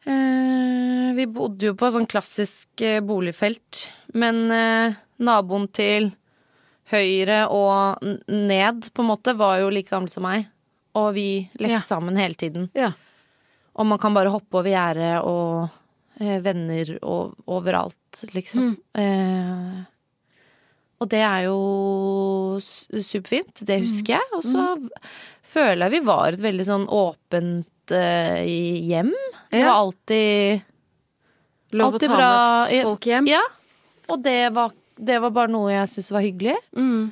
C: eh, Vi bodde jo på sånn klassisk eh, boligfelt, men eh, naboen til høyre og n- ned, på en måte, var jo like gammel som meg. Og vi lekte
B: Ja.
C: sammen hele tiden.
B: Ja.
C: Og man kan bare hoppe over gjerdet og eh, venner og, overalt, liksom.
B: Mm.
C: Eh, og det er jo s- superfint, det
B: Mm.
C: husker jeg. Og så føler jeg vi var et veldig sånn åpent eh, hjem. Det
B: Ja.
C: var alltid,
B: Lov å
C: alltid
B: ta
C: bra
B: med folk hjem?
C: Ja. Og det var, det var bare noe jeg syntes var hyggelig.
B: Mm.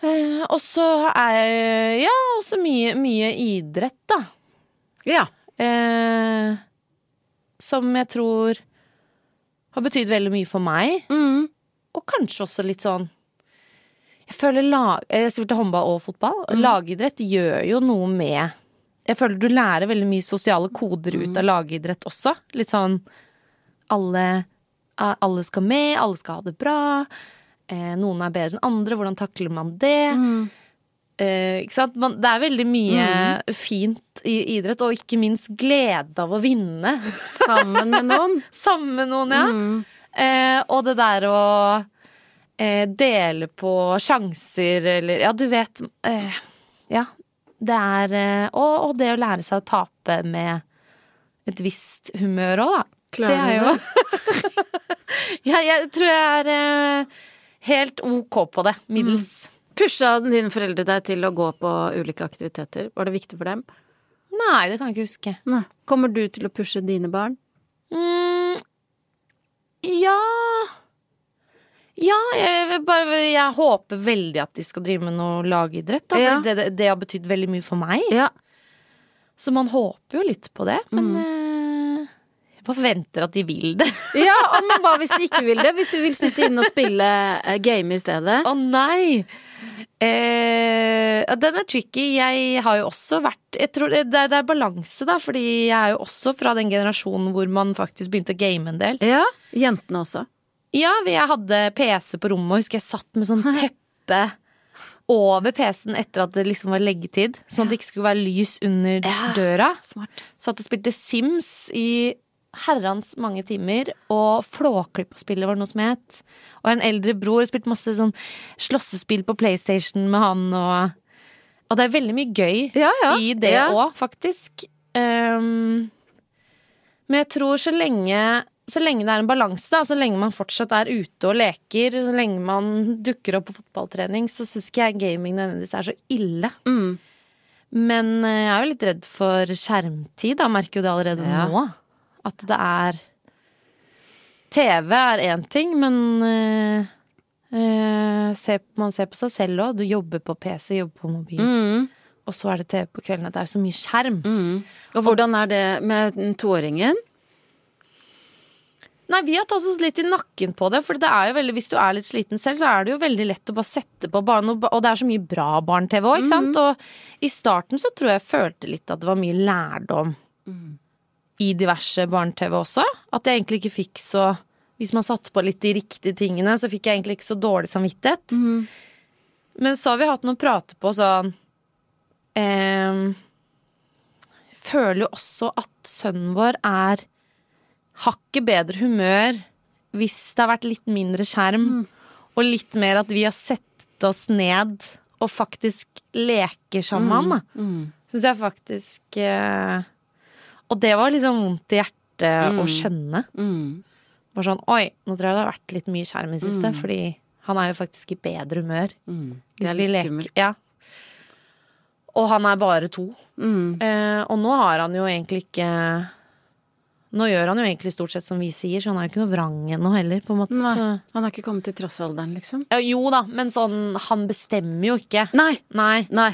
C: Eh, og så er jeg Ja, også mye, mye idrett, da.
B: ja.
C: eh, som jeg tror har betydd veldig mye for meg.
B: Mm.
C: Og kanskje også litt sånn Jeg føler lag, jeg spilte håndball og fotball. og Lagidrett gjør jo noe med Jeg føler du lærer veldig mye sosiale koder ut av lagidrett også. Litt sånn alle, alle skal med, alle skal ha det bra. Eh, noen er bedre enn andre. Hvordan takler man det? Eh, ikke sant? Man, det er veldig mye fint i idrett, og ikke minst glede av å vinne.
B: Sammen med noen? Mm.
C: Sammen med noen, ja. Eh, og det der å eh, dele på sjanser eller Ja, du vet eh, Ja. Det er eh, og, og det å lære seg å tape med et visst humør òg, da.
B: Klarer
C: det er
B: du
C: jo Ja, jeg tror jeg er eh, helt OK på det. Middels.
B: Pusha dine foreldre deg til å gå på ulike aktiviteter? Var det viktig for dem?
C: Mm. Nei, det kan jeg ikke huske.
B: Nei. Kommer du til å pushe dine barn?
C: Mm, ja Ja, jeg, vil bare, jeg håper veldig at de skal drive med noe lagidrett. Da,
B: Ja.
C: fordi det, det, det har betydd veldig mye for meg.
B: Ja.
C: Så man håper jo litt på det. Men eh, jeg bare forventer at de vil det.
B: ja og men hva hvis de ikke vil det? Hvis de vil sitte inne og spille eh, game i stedet?
C: Å nei! Eh, ja, den er tricky. Jeg har jo også vært jeg tror, det, er, det er balanse, da. Fordi jeg er jo også fra den generasjonen hvor man faktisk begynte å game en del.
B: Ja, jentene også.
C: Ja, vi- jeg hadde PC på rommet, og husker jeg satt med sånn teppe over PC-en etter at det liksom var leggetid. Sånn at det ikke skulle være lys under
B: Ja.
C: døra.
B: Smart.
C: Satt og spilte Sims i herrens mange timer, og Flåklypa-spillet var noe som het. Og en eldre bror spilte masse sånn slåssespill på PlayStation med han og Og det er veldig mye gøy
B: Ja, ja.
C: i det
B: Ja.
C: òg, faktisk. Ehm, men jeg tror så lenge så lenge det er en balanse, da, så lenge man fortsatt er ute og leker, så lenge man dukker opp på fotballtrening, så syns ikke jeg gaming nødvendigvis er så ille.
B: Mm.
C: Men eh, jeg er jo litt redd for skjermtid. da, merker jo det allerede
B: Ja.
C: nå. At det er TV er én ting, men eh, eh, se, man ser på seg selv òg. Du jobber på PC, jobber på mobil,
B: Mm.
C: og så er det TV på kveldene. Det er jo så mye skjerm.
B: Mm. Og hvordan er det med den toåringen?
C: Nei, vi har tatt oss litt i nakken på det, for det er jo veldig, hvis du er litt sliten selv, så er det jo veldig lett å bare sette på barn, og ba- og det er så mye bra barne-TV òg, ikke sant? Og i starten så tror jeg jeg følte litt at det var mye lærdom i diverse barne-TV også. At jeg egentlig ikke fikk så Hvis man satte på litt de riktige tingene, så fikk jeg egentlig ikke så dårlig samvittighet. Men så har vi hatt noen prater på sånn eh, Føler jo også at sønnen vår er hakket bedre humør hvis det har vært litt mindre skjerm, og litt mer at vi har sett oss ned og faktisk leker sammen. da. Syns jeg faktisk eh, Og det var liksom vondt i hjertet å skjønne.
B: Mm.
C: Bare sånn Oi, nå tror jeg det har vært litt mye skjerm i det siste, fordi han er jo faktisk i bedre humør.
B: Mm. Det
C: Hvis
B: er
C: vi
B: litt
C: leker-
B: skummelt.
C: Ja. Og han er bare to.
B: Mm.
C: Eh, og nå har han jo egentlig ikke Nå gjør han jo egentlig stort sett som vi sier, så han er jo ikke noe vrang ennå heller, på en måte.
B: Nei,
C: Så,
B: han har ikke kommet til trassalderen, liksom.
C: Ja, jo da, men sånn Han bestemmer jo ikke.
B: Nei!
C: Nei.
B: Nei.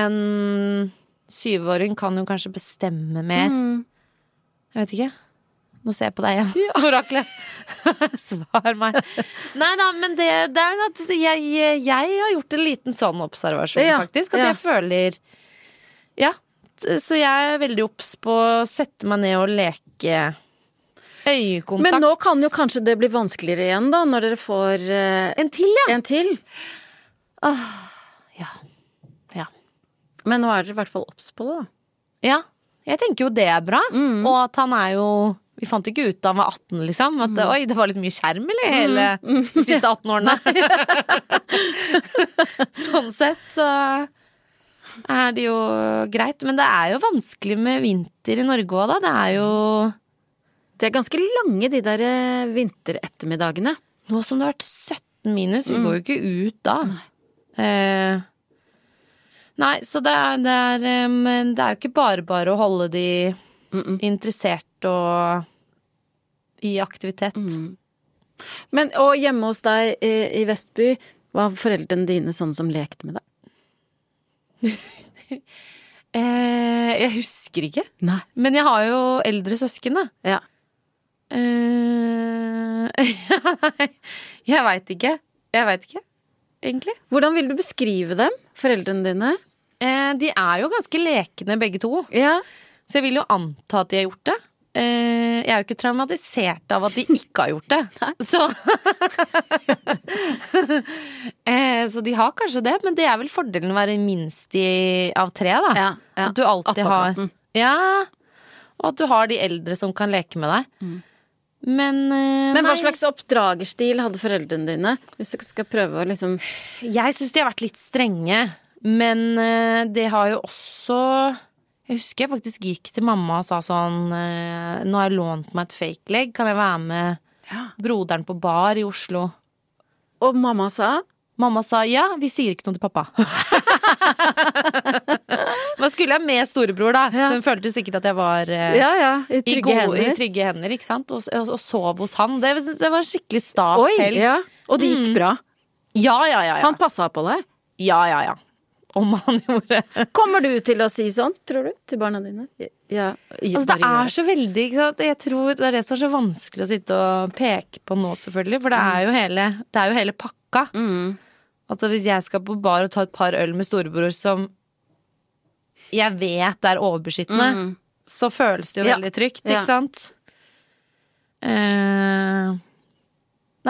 C: En syvåring kan jo kanskje bestemme mer. Jeg vet ikke. Nå ser jeg på deg igjen, oraklet. Svar meg. Nei da, men det, det er at jeg, jeg har gjort en liten sånn observasjon,
B: Ja,
C: faktisk. At
B: ja.
C: jeg føler Ja. t- Så jeg er veldig obs på å sette meg ned og leke øyekontakt.
B: Men nå kan jo kanskje det bli vanskeligere igjen, da, når dere får eh,
C: En til, ja.
B: en til.
C: Ja. ja.
B: Men nå er dere i hvert fall obs på det, da.
C: Ja, jeg tenker jo det er bra. Og at han er jo Vi fant ikke ut da han var 18, liksom. At oi, det var litt mye skjerm, eller? Hele de siste 18 årene. sånn sett så er det jo greit. Men det er jo vanskelig med vinter i Norge òg, da. Det er jo
B: De er ganske lange, de der eh, vinterettermiddagene.
C: Nå som det har vært 17 minus, vi går jo ikke ut da. Eh, nei, så det er, det, er, eh, men det er jo ikke bare bare å holde de interessert og i aktivitet.
B: Men, og hjemme hos deg eh, i Vestby, var foreldrene dine sånne som lekte med deg?
C: Eh, jeg husker ikke,
B: Nei.
C: men jeg har jo eldre søsken, da.
B: Ja.
C: Eh, jeg veit ikke. Jeg veit ikke, egentlig.
B: Hvordan vil du beskrive dem, foreldrene dine?
C: Eh, de er jo ganske lekne, begge to.
B: Ja.
C: Så jeg vil jo anta at de har gjort det. Eh, jeg er jo ikke traumatisert av at de ikke har gjort det. Så eh, Så de har kanskje det, men det er vel fordelen å være minst i, av tre, da.
B: Ja, ja.
C: At du alltid har
B: Attpåklatten.
C: Ja. Og at du har de eldre som kan leke med deg. Men, eh,
B: Mm. Men hva
C: nei,
B: slags oppdragerstil hadde foreldrene dine? Hvis dere skal prøve å liksom
C: Jeg syns de har vært litt strenge, men eh, det har jo også Jeg husker jeg faktisk gikk til mamma og sa sånn eh, Nå har jeg lånt meg et fake leg, kan jeg være med broderen på bar i Oslo?
B: Og mamma sa
C: Mamma sa ja, vi sier ikke noe til pappa. Hva skulle jeg med storebror, da? Så hun følte jo sikkert at jeg var eh,
B: Ja ja, i
C: i,
B: trygge
C: gode,
B: hender.
C: i trygge hender, ikke sant? Og, og, og sov hos han. Det, det var en skikkelig sta
B: Oi,
C: helg.
B: ja. Og det gikk bra.
C: Ja, ja, Mm. ja. Ja,
B: Han passa på deg.
C: ja, ja, ja. Om han gjorde
B: Kommer du til å si sånn, tror du, til barna dine? Ja.
C: Altså, det er så veldig ikke sant? Jeg tror Det er det som er så Mm. vanskelig å sitte og peke på nå, selvfølgelig. For det er jo hele, det er jo hele pakka. At hvis jeg skal på bar og ta et par øl med storebror som jeg vet er overbeskyttende,
B: Mm.
C: så føles det jo
B: Ja.
C: veldig trygt,
B: Ja.
C: ikke sant? Eh,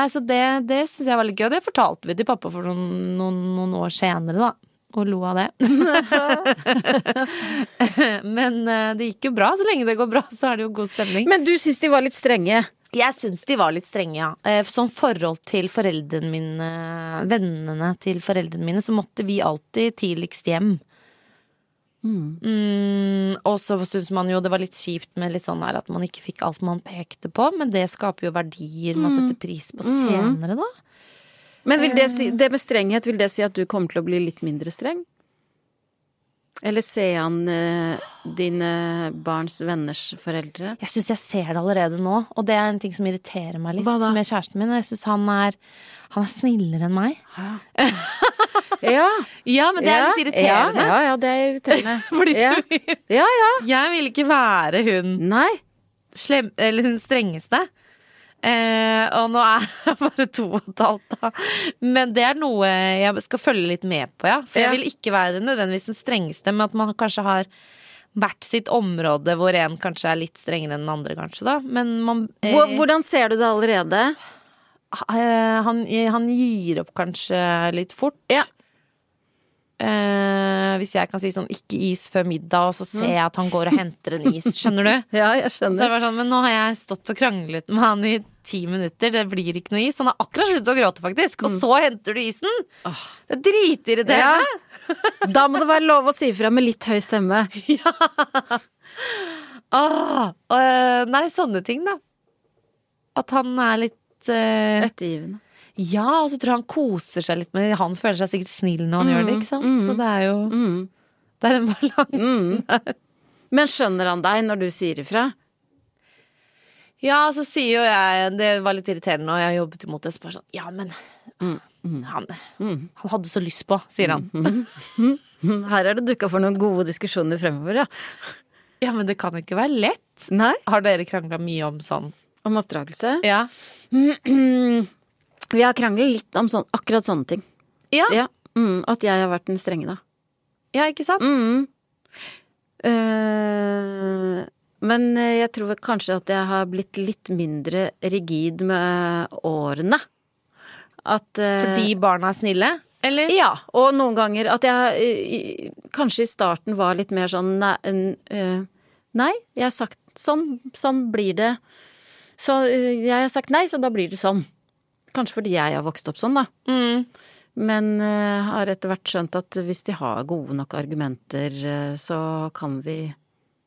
C: nei, så det, det syns jeg var litt gøy. Og det fortalte vi til pappa for noen, noen, noen år senere, da. Og lo av det. Men eh, det gikk jo bra. Så lenge det går bra, så er det jo god stemning.
B: Men du syns de var litt strenge.
C: Jeg syns de var litt strenge, ja. Eh, Sånn forhold til foreldrene mine, vennene til foreldrene mine, så måtte vi alltid tidligst hjem. Mm, og så syns man jo det var litt kjipt med litt sånn her at man ikke fikk alt man pekte på, men det skaper jo verdier man setter pris på senere, da.
B: Men vil
C: Eh.
B: det, si, det med strenghet, vil det si at du kommer til å bli litt mindre streng? Eller ser han eh, dine barns venners foreldre?
C: Jeg syns jeg ser det allerede nå, og det er en ting som irriterer meg litt
B: Hva da?
C: med kjæresten min. Jeg syns han er, han er snillere enn meg.
B: Ja.
C: Ja, men det er
B: ja,
C: litt irriterende.
B: Ja, ja, ja, det er irriterende.
C: Fordi
B: ja.
C: du,
B: ja, ja.
C: jeg vil ikke være hun
B: Nei.
C: slem, eller hun strengeste. Eh, og nå er jeg bare to og et halvt, da. Men det er noe jeg skal følge litt med på, ja. For
B: Ja.
C: jeg vil ikke være nødvendigvis den strengeste, men at man kanskje har hvert sitt område hvor en kanskje er litt strengere enn den andre, kanskje, da. Men man eh,
B: Hvor- Hvordan ser du det allerede?
C: eh, han, han gir opp kanskje litt fort.
B: Ja.
C: Eh, hvis jeg kan si sånn 'ikke is før middag', og så
B: Mm.
C: ser jeg at han går og henter en is. Skjønner du?
B: Ja, jeg
C: Så det var sånn, men nå har jeg stått og kranglet med han i ti minutter, det blir ikke noe is. Han har akkurat sluttet å gråte, faktisk. Og så henter du isen! Det er dritirriterende!
B: Da må det være lov å si fra med litt høy stemme.
C: Åh, øh, nei, sånne ting, da. At han er litt øh,
B: Ettergivende.
C: Ja, og så tror jeg han koser seg litt med det. Han føler seg sikkert snill når han gjør det, ikke sant? Så det er jo
B: Mm.
C: Det er en balanse. Mm.
B: Men skjønner han deg når du sier ifra?
C: Ja, så sier jo jeg Det var litt irriterende, og jeg jobbet imot det. Så bare sånn Ja, men Mm. Han, han hadde så lyst på, sier han.
B: Her er det dukka for noen gode diskusjoner fremover, ja.
C: Ja, men det kan jo ikke være lett.
B: Nei.
C: Har dere krangla mye om sånn?
B: Om oppdragelse?
C: Ja.
B: Vi har kranglet litt om sånn, akkurat sånne ting.
C: Ja,
B: Ja. Mm, at jeg har vært den strenge, da.
C: ja ikke sant?
B: Mm. Eh, men jeg tror vel kanskje at jeg har blitt litt mindre rigid med årene. At eh,
C: Fordi barna er snille? Eller?
B: Ja, og noen ganger at jeg eh, i- kanskje i starten var litt mer sånn nei, en, eh, nei jeg har sagt sånn, sånn blir det. Så eh, jeg har sagt nei, så da blir det sånn. Kanskje fordi jeg har vokst opp sånn, da.
C: Mm.
B: Men eh, har etter hvert skjønt at hvis de har gode nok argumenter, eh, så kan vi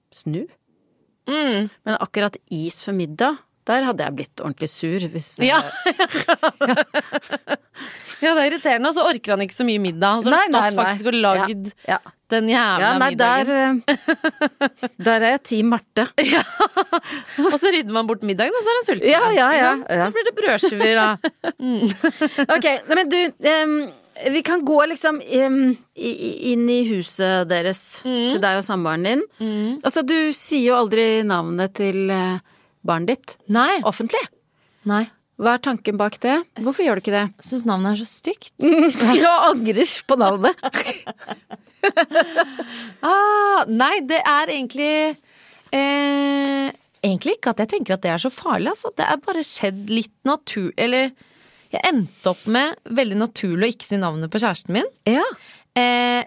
B: snu.
C: Mm.
B: Men akkurat is for middag, der hadde jeg blitt ordentlig sur hvis eh,
C: Ja. ja, det er irriterende. Og så orker han ikke så mye middag. Og så har han stått faktisk og lagd
B: Ja, ja.
C: den jævla
B: Ja, nei, der,
C: middagen.
B: eh, der er jeg Team Marte.
C: Og så rydder man bort middagen, og så er han sulten.
B: Ja, ja, ja,
C: Ikke sant?
B: ja.
C: Så blir det brødskiver, da.
B: Ok, nei, men du, em, vi kan gå liksom em, i, i- inn i huset deres, til deg og samboeren din. Altså, du sier jo aldri navnet til eh, barnet ditt
C: Nei.
B: offentlig.
C: Nei.
B: Hva er tanken bak det? Hvorfor gjør du ikke det?
C: Syns navnet er så stygt.
B: Jeg angrer på navnet.
C: Ah, nei, det er egentlig eh, Egentlig ikke at jeg tenker at det er så farlig. Altså. Det er bare skjedd litt natur... Eller jeg endte opp med veldig naturlig å ikke si navnet på kjæresten min.
B: Ja.
C: Eh,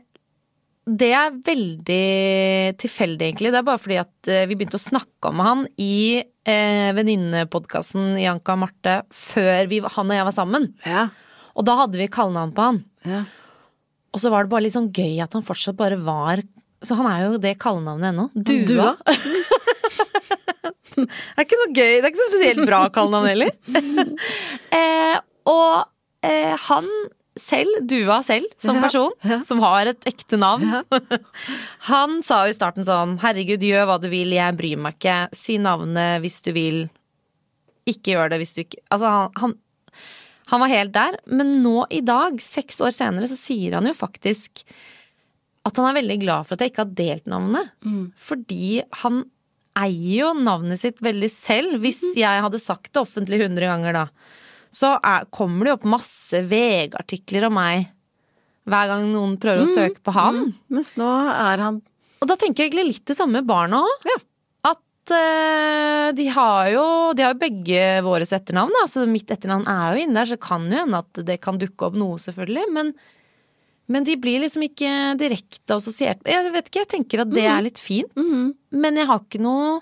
C: det er veldig tilfeldig, egentlig. Det er bare fordi at eh, vi begynte å snakke om han i eh, venninnepodkasten Janka og Marte før vi, han og jeg var sammen.
B: Ja.
C: Og da hadde vi kallenavn på han.
B: ja.
C: Og så var det bare litt sånn gøy at han fortsatt bare var Så han er jo det kallenavnet ennå. Dua.
B: Dua.
C: det er ikke noe gøy. Det er ikke noe spesielt bra kallenavn heller. eh, og eh, han selv, Dua selv, som
B: Ja,
C: person,
B: ja.
C: som har et ekte navn, han sa jo i starten sånn Herregud, gjør hva du vil, jeg bryr meg ikke. Si navnet hvis du vil. Ikke gjør det hvis du ikke Altså, han, han han var helt der, men nå i dag, seks år senere, så sier han jo faktisk at han er veldig glad for at jeg ikke har delt navnet. Fordi han eier jo navnet sitt veldig selv. Hvis jeg hadde sagt det offentlig 100 ganger da, så er, kommer det jo opp masse VG-artikler om meg hver gang noen prøver å søke på han.
B: Mens nå er han
C: Og da tenker jeg egentlig litt det samme med barna òg.
B: Ja.
C: At eh, de har jo De har jo begge våres etternavn, da. Så mitt etternavn er jo inne der, så kan jo hende at det kan dukke opp noe, selvfølgelig. Men, men de blir liksom ikke direkte assosiert Jeg vet ikke, jeg tenker at det er litt fint. Men jeg har ikke noe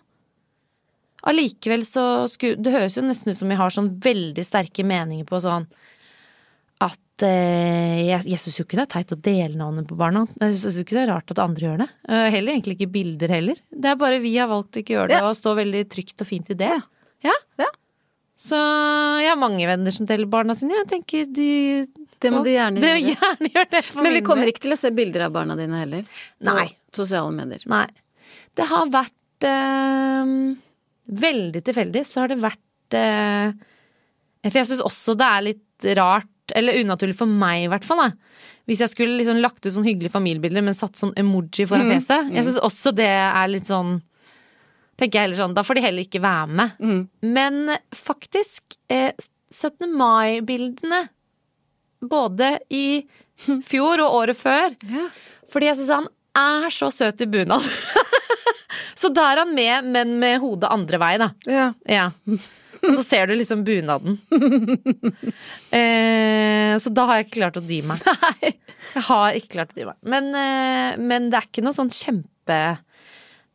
C: Allikevel så skulle Det høres jo nesten ut som jeg har sånn veldig sterke meninger på sånn at eh, jeg, jeg syns jo ikke det er teit å dele navnet på barna. Jeg syns ikke det er rart at andre gjør det. Eh, heller egentlig ikke bilder heller. Det er bare vi har valgt å ikke gjøre det,
B: Ja.
C: og stå veldig trygt og fint i det. Ja.
B: Ja.
C: Så jeg har mange venner som deler barna sine. Jeg tenker de
B: Det må de gjerne
C: Det
B: gjøre.
C: gjerne gjør det for
B: Men vi
C: min
B: kommer
C: del.
B: ikke til å se bilder av barna dine heller.
C: Nei.
B: På sosiale medier.
C: Nei. Det har vært eh, Veldig tilfeldig så har det vært eh, For jeg syns også det er litt rart, eller unaturlig for meg i hvert fall, da. Hvis jeg skulle liksom lagt ut sånn hyggelige familiebilder, men satt sånn emoji foran fjeset. Jeg syns også det er litt sånn tenker jeg heller sånn, Da får de heller ikke være med. Men faktisk, eh, 17. mai-bildene, både i fjor og året før,
B: Ja.
C: fordi jeg syns han er så søt i bunad. så da er han med, men med hodet andre vei, da.
B: Ja.
C: Ja. Og så ser du liksom bunaden. Eh, så da har jeg ikke klart å dy meg. Jeg har ikke klart å dy meg. Men, eh, men det er ikke noe sånn kjempe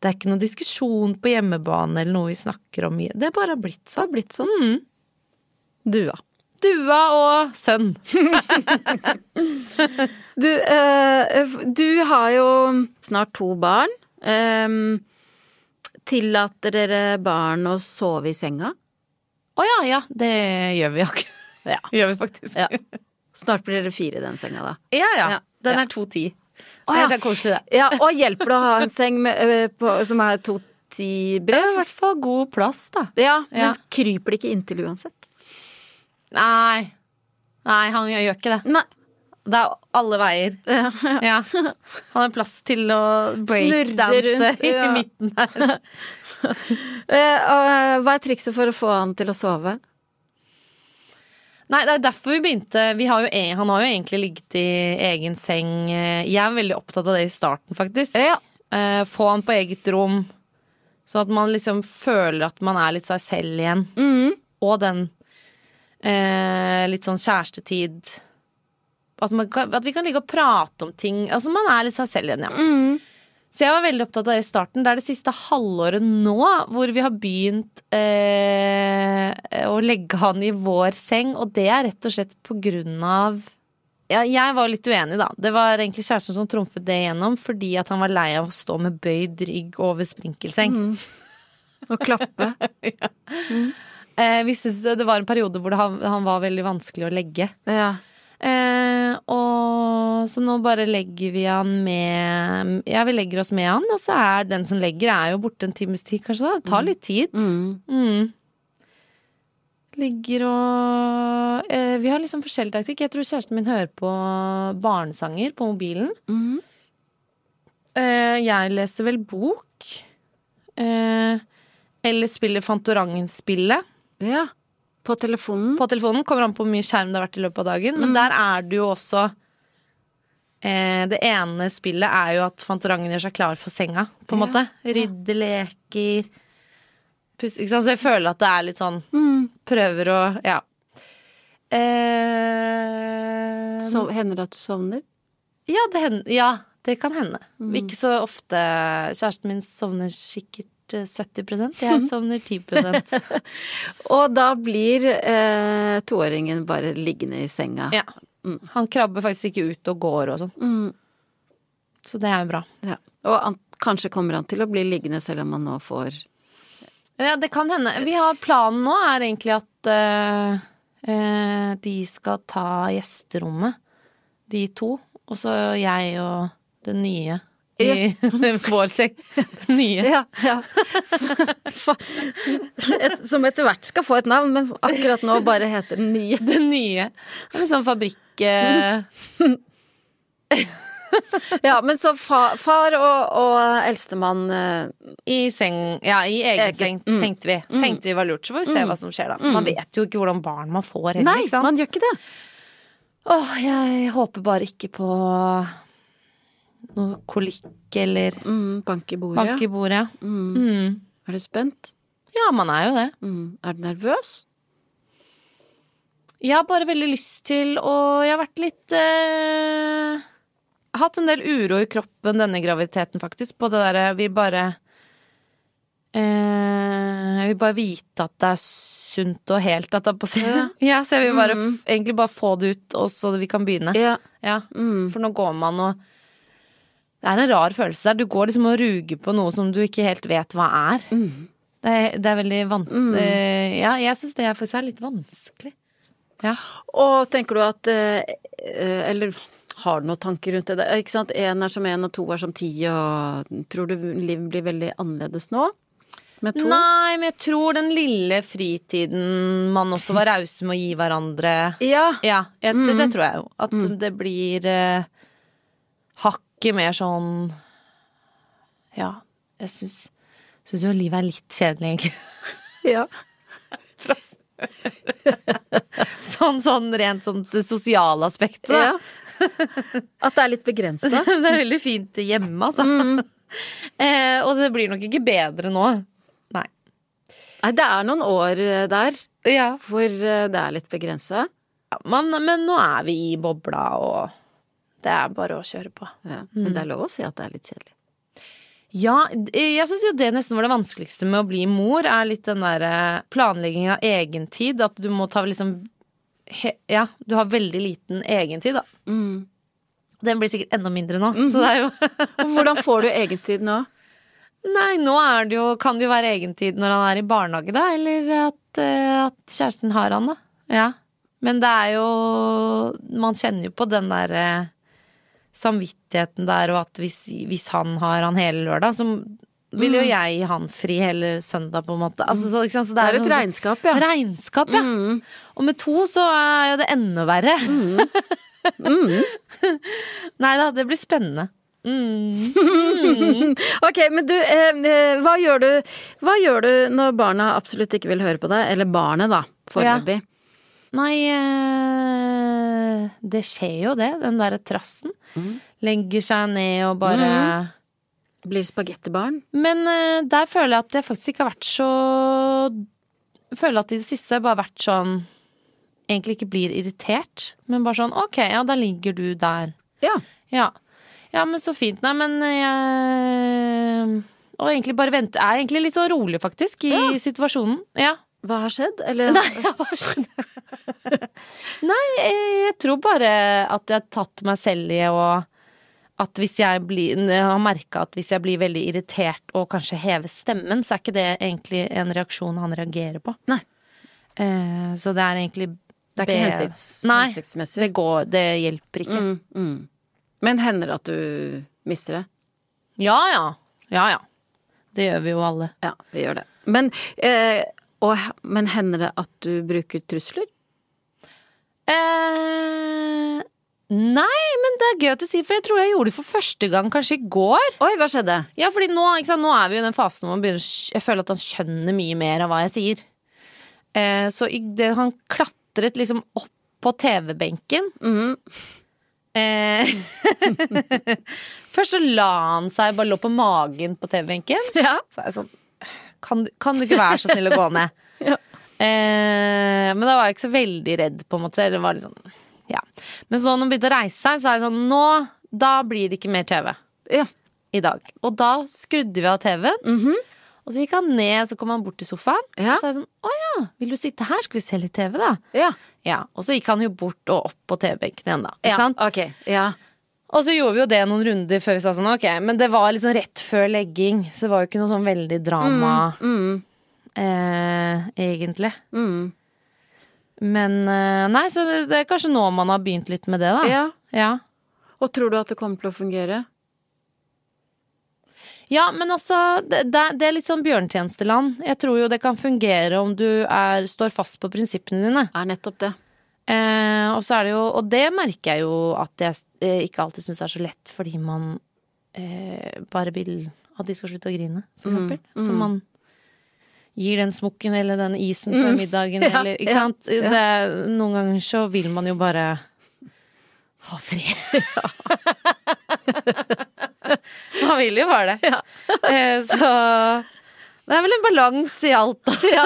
C: Det er ikke noe diskusjon på hjemmebane eller noe vi snakker om. mye. Det er bare blitt sånn. Blitt sånn. Mm.
B: Dua.
C: Dua og sønn.
B: Du, eh, du har jo snart to barn. Eh, tillater dere barn å sove i senga?
C: Å ja, ja. Det gjør vi jo ikke.
B: Ja.
C: Gjør vi faktisk.
B: Ja. Snart blir dere fire i den senga, da.
C: Ja, ja.
B: Ja.
C: Den
B: Ja.
C: er 2,10.
B: Å, ja.
C: Det er koselig, det.
B: Ja, Og hjelper det å ha en seng med, eh, på, som er to ti
C: Det er i
B: brev?
C: hvert fall god plass, da.
B: Ja, men
C: Ja.
B: kryper det ikke inntil uansett?
C: Nei. Nei, han gjør gjør ikke det.
B: Nei.
C: Det er alle veier. Ja. Han har plass til å breakdanse
B: rundt,
C: i
B: ja.
C: midten der.
B: Eh, og hva er trikset for å få han til å sove?
C: Nei, det er derfor vi begynte. Vi har jo, e- han har jo egentlig ligget i egen seng. Jeg er veldig opptatt av det i starten, faktisk.
B: Ja.
C: Eh, Få han på eget rom, sånn at man liksom føler at man er litt seg selv igjen.
B: Mm,
C: Og den eh, litt sånn kjærestetid. At, man kan, at vi kan ligge og prate om ting. Altså, man er litt seg selv igjen, ja.
B: Mm.
C: Så jeg var veldig opptatt av det i starten. Det er det siste halvåret nå hvor vi har begynt eh, å legge han i vår seng, og det er rett og slett på grunn av ja, Jeg var litt uenig, da. Det var egentlig kjæresten som trumfet det igjennom fordi at han var lei av å stå med bøyd rygg over sprinkelseng.
B: Og mm. klappe?
C: Eh, vi synes det, det var en periode hvor det, han, han var veldig vanskelig å legge.
B: ja.
C: Eh, og så nå bare legger vi han med Ja, vi legger oss med han, og så er den som legger, er jo borte en times tid, kanskje. da Det tar litt tid. Mm. Ligger og eh, Vi har liksom forskjellig taktikk. Jeg tror kjæresten min hører på barnesanger på mobilen.
B: mm.
C: Eh, jeg leser vel bok. Eh, eller spiller Fantorangen-spillet
B: ja. På telefonen?
C: på telefonen. Kommer an på hvor mye skjerm det har vært i løpet av dagen. Men der er det jo også eh, Det ene spillet er jo at Fantorangen gjør seg klar for senga, på en måte. Rydde leker puss, ikke sant? Så jeg føler at det er litt sånn
B: Mm.
C: Prøver å Ja. Eh,
B: Sov- hender det at du sovner?
C: ja, det hend- ja, det kan hende. Ikke så ofte. Kjæresten min sovner sikkert eh, 70 Jeg sovner 10
B: Og da blir eh, toåringen bare liggende i senga.
C: Ja. Han krabber faktisk ikke ut og går og sånn. Så det er jo bra.
B: Ja. Og an kanskje kommer han til å bli liggende selv om han nå får
C: Ja, det kan hende. Vi har planen nå er egentlig at eh, eh, de skal ta gjesterommet, de to. Og så jeg og den nye i vår seng. Den nye.
B: som etter hvert skal få et navn, men akkurat nå bare heter den nye.
C: Den nye. Det er Litt sånn fabrikk... eh,
B: Ja, men så fa far og, og eldstemann eh,
C: I seng, ja, i egen
B: Eget,
C: seng, tenkte vi.
B: Mm.
C: Tenkte vi var lurt. Så får vi se hva som skjer, da. Man vet jo ikke hvordan barn man får heller.
B: Nei,
C: ikke sant?
B: man gjør ikke det.
C: Åh, jeg håper bare ikke på noe kolikk eller
B: Mm, bank i bordet.
C: bank i bordet.
B: Mm.
C: Mm.
B: Er du spent?
C: Ja, man er jo det.
B: Mm. Er du nervøs?
C: Jeg har bare veldig lyst til å Jeg har vært litt eh, Hatt en del uro i kroppen denne graviditeten, faktisk. På det derre Jeg vil bare eh, Jeg vil bare vite at det er sunt og helt, at det er på seg. Ja. så jeg vil bare, f- egentlig bare få det ut, og så vi kan begynne.
B: Ja. Mm.
C: Ja, For nå går man og Det er en rar følelse der. Du går liksom og ruger på noe som du ikke helt vet hva er. Det, er det er veldig van... eh, Ja, jeg syns det er- faktisk er litt vanskelig. Ja.
B: Og tenker du at eh, eh, Eller har du noen tanker rundt det? der? Ikke sant? Én er som én, og to er som ti, og tror du livet blir veldig annerledes nå? Med to?
C: Nei, men jeg tror den lille fritiden man også var rause med å gi hverandre
B: Ja.
C: Ja, jeg, det, det tror jeg jo. At det blir eh, hakket mer sånn Ja, jeg syns, syns jo livet er litt kjedelig, egentlig.
B: ja.
C: Sånn, sånn rent sånn det sosiale aspektet. da.
B: Ja. At det er litt begrensa?
C: Det er veldig fint hjemme, altså.
B: Mm.
C: Eh, og det blir nok ikke bedre nå. Nei.
B: Nei, det er noen år eh, der
C: Ja.
B: hvor eh, det er litt begrensa.
C: Ja, men, men nå er vi i bobla, og det er bare å kjøre på.
B: Ja. Men det er lov å si at det er litt kjedelig.
C: Ja, d- jeg syns jo det nesten var det vanskeligste med å bli mor, er litt den derre planlegging av egentid. At du må ta liksom he, Ja, du har veldig liten egentid, da. Den blir sikkert enda mindre nå, så det er jo
B: Og Hvordan får du egentid nå?
C: Nei, nå er det jo Kan det jo være egentid når han er i barnehage, da? Eller at, eh, at kjæresten har han, da. Ja. Men det er jo Man kjenner jo på den der eh, samvittigheten der, og at hvis, hvis han har han hele lørdag, så vil jo jeg gi han fri hele søndag, på en måte. Altså, så, ikke sant? så
B: Mm. Det er
C: det, noe
B: et
C: sånn-
B: regnskap, Mm. ja.
C: Regnskap, ja. Og med to så er jo det enda verre.
B: Mm.
C: Nei da, det blir spennende. Mm.
B: Ok, men du, eh, eh, hva, gjør du, hva gjør du når barna absolutt ikke vil høre på deg? Eller barnet, da, foreløpig.
C: Nei, eh, det skjer jo det, den derre trassen. Legger seg ned og bare
B: Blir spagettibarn?
C: Men eh, der føler jeg at jeg faktisk ikke har vært så Føler at i det siste har jeg bare vært sånn Egentlig ikke blir irritert, men bare sånn OK, ja, da ligger du der.
B: Ja.
C: Ja. ja, men så fint. Nei, men jeg Og egentlig bare vente. Er egentlig litt så rolig, faktisk, i situasjonen. Ja.
B: Hva har skjedd? Eller
C: Nei, jeg bare skjønner Nei, eh, jeg tror bare at jeg har tatt meg selv i å at hvis jeg, blir, jeg har merka at hvis jeg blir veldig irritert og kanskje hever stemmen, så er ikke det egentlig en reaksjon han reagerer på.
B: Nei.
C: Eh, så det er egentlig
B: det er ikke hensikts,
C: Nei,
B: hensiktsmessig.
C: det, går, det hjelper ikke.
B: Mm, mm. Men hender det at du mister det?
C: Ja ja. Ja ja. Det gjør vi jo alle.
B: Ja, det gjør det. Men, eh, og, men hender det at du bruker trusler?
C: Eh, nei, men det er gøy at du sier, for jeg tror jeg gjorde det for første gang kanskje i går.
B: Oi, hva skjedde?
C: Ja, fordi nå, ikke sant, nå er vi jo i den fasen hvor man begynner, å skj- jeg føler at han skjønner mye mer av hva jeg sier. Eh, så i det, han klatret liksom opp på TV-benken. eh, Først så la han seg, bare lå på magen på TV-benken.
B: Ja.
C: Så er jeg sånn, kan, du- kan du ikke være så snill å gå ned?
B: Ja.
C: Eh, men da var jeg ikke så veldig redd, på en måte. Det var litt sånn, ja. Men så når han begynte å reise seg, så er jeg sånn, nå, da blir det ikke mer TV
B: ja.
C: i dag. Og da skrudde vi av TV-en. Og så gikk han ned, så kom han bort til sofaen.
B: Mhm. Ja.
C: Og så er jeg sånn, å ja, vil du sitte her? Skal vi se litt TV, da?
B: Ja.
C: Ja, Og så gikk han jo bort og opp på TV-benken igjen, da. Ikke
B: Ja,
C: sant?
B: Ok. Ja.
C: Og så gjorde vi jo det noen runder før vi sa sånn, ok, men det var liksom rett før legging. Så det var jo ikke noe sånn veldig drama,
B: Mm,
C: eh, egentlig.
B: mm.
C: Men eh, nei, så det, det er kanskje nå man har begynt litt med det, da.
B: ja.
C: ja.
B: Og tror du at det kommer til å fungere?
C: Ja, men altså, det, det det er litt sånn bjørntjenesteland. Jeg tror jo det kan fungere om du er, står fast på prinsippene dine.
B: Er nettopp det.
C: Eh, og, så er det jo, og det merker jeg jo at jeg eh, ikke alltid syns er så lett, fordi man eh, bare vil at de skal slutte å grine, for eksempel. Så man gir den smokken eller Mm. den isen før middagen, eller ikke sant. Det, noen ganger så vil man jo bare ha fred. Man vil jo bare det. Eh, Så det er vel en balanse i alt, da.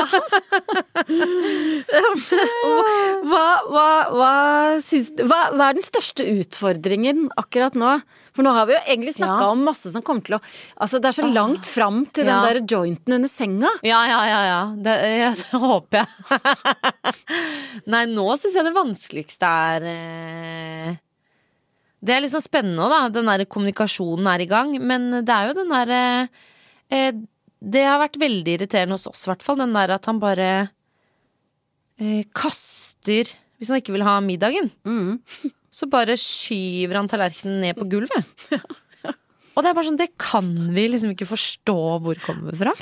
B: Hva, hva, hva, syns, hva, hva er den største utfordringen akkurat nå? For nå har vi jo egentlig snakka
C: Ja.
B: om masse som kommer til å Altså, det er så langt fram til
C: Ja.
B: den der jointen under senga.
C: Ja, ja, ja. ja. Det, ja, det håper jeg. Nei, nå syns jeg det vanskeligste er eh, Det er liksom spennende òg, da. Den der kommunikasjonen er i gang. Men det er jo den derre eh, Det har vært veldig irriterende hos oss, i hvert fall. Den der at han bare eh, kaster Hvis han ikke vil ha middagen,
B: Mm.
C: så bare skyver han tallerkenen ned på gulvet. Og det er bare sånn, det kan vi liksom ikke forstå hvor kommer fra.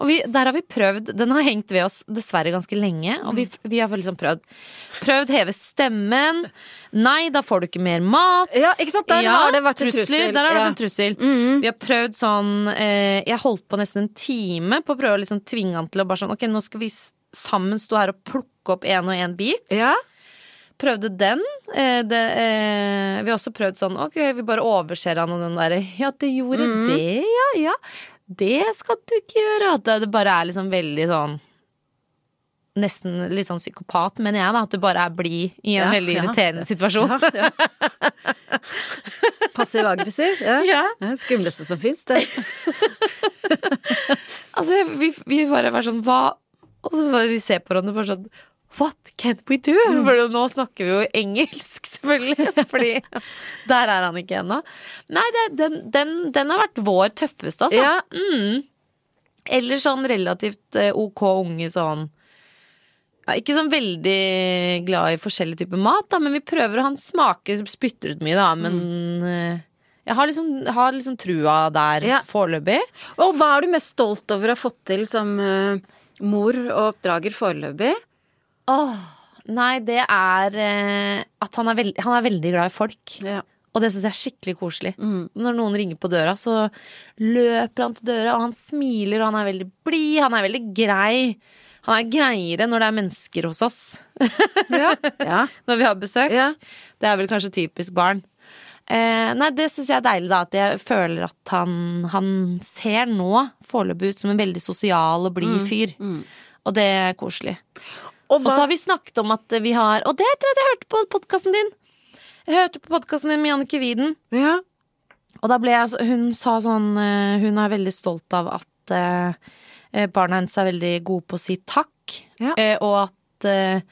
C: Og vi, der har vi prøvd, den har hengt ved oss dessverre ganske lenge, og
B: Mm.
C: vi, vi har liksom prøvd. Prøvd heve stemmen. Nei, da får du ikke mer mat.
B: Ja, ikke sant? Der har det vært en
C: trusler,
B: trussel.
C: Der har det
B: Ja.
C: vært en trussel.
B: Mm.
C: Vi har prøvd sånn, eh, jeg holdt på nesten en time på å prøve å liksom tvinge han til å bare sånn, ok, nå skal vi s- sammen stå her og plukke opp en og en bit.
B: Ja.
C: Prøvde den. Eh, det, eh, vi har også prøvd sånn Ok, vi bare overser han og den derre Ja, det gjorde
B: Mm.
C: det, ja, ja. Det skal du ikke gjøre. At det- det bare er liksom veldig sånn Nesten litt sånn psykopat, mener jeg, da. At du bare er blid i en
B: Ja,
C: veldig
B: ja.
C: irriterende situasjon. Ja.
B: Passiv-aggressiv. Ja. Det er det skumleste som fins, det.
C: Altså, vi, vi bare var sånn Hva? Og så bare, vi ser på hverandre bare sånn What can we do?
B: Mm.
C: For nå snakker vi jo engelsk, selvfølgelig. Fordi der er han ikke ennå. Nei, det, den, den, den har vært vår tøffeste, altså.
B: Ja.
C: Eller sånn relativt eh, ok unge sånn ja, Ikke sånn veldig glad i forskjellige typer mat, da, men vi prøver, og han smaker spytter ut mye, da, men eh, jeg har liksom, har liksom trua der
B: Mm. Ja.
C: foreløpig.
B: Og hva er du mest stolt over å ha fått til som eh, mor og oppdrager foreløpig?
C: Åh, nei, det er eh, at han er, veld, han er veldig glad i folk.
B: Ja. Mm.
C: Og det syns jeg er skikkelig koselig. Når noen ringer på døra, så løper han til døra, og han smiler, og han er veldig blid, han er veldig grei. Han er greiere når det er mennesker hos oss,
B: Ja. ja.
C: når vi har besøk.
B: Ja.
C: Det er vel kanskje typisk barn. Eh, nei, det syns jeg er deilig, da. At jeg føler at han, han ser nå foreløpig ut som en veldig sosial og
B: Mm.
C: blid fyr. Og det er koselig.
B: Og
C: Og så
B: hva
C: har vi snakket om at vi har Og det tror jeg at jeg hørte på podkasten din! Jeg hørte på podkasten din med Jannicke Widen.
B: ja.
C: Og da ble jeg så- Hun sa sånn eh, Hun er veldig stolt av at eh, eh, barna hennes er veldig gode på å si takk.
B: Ja.
C: eh, Og at eh,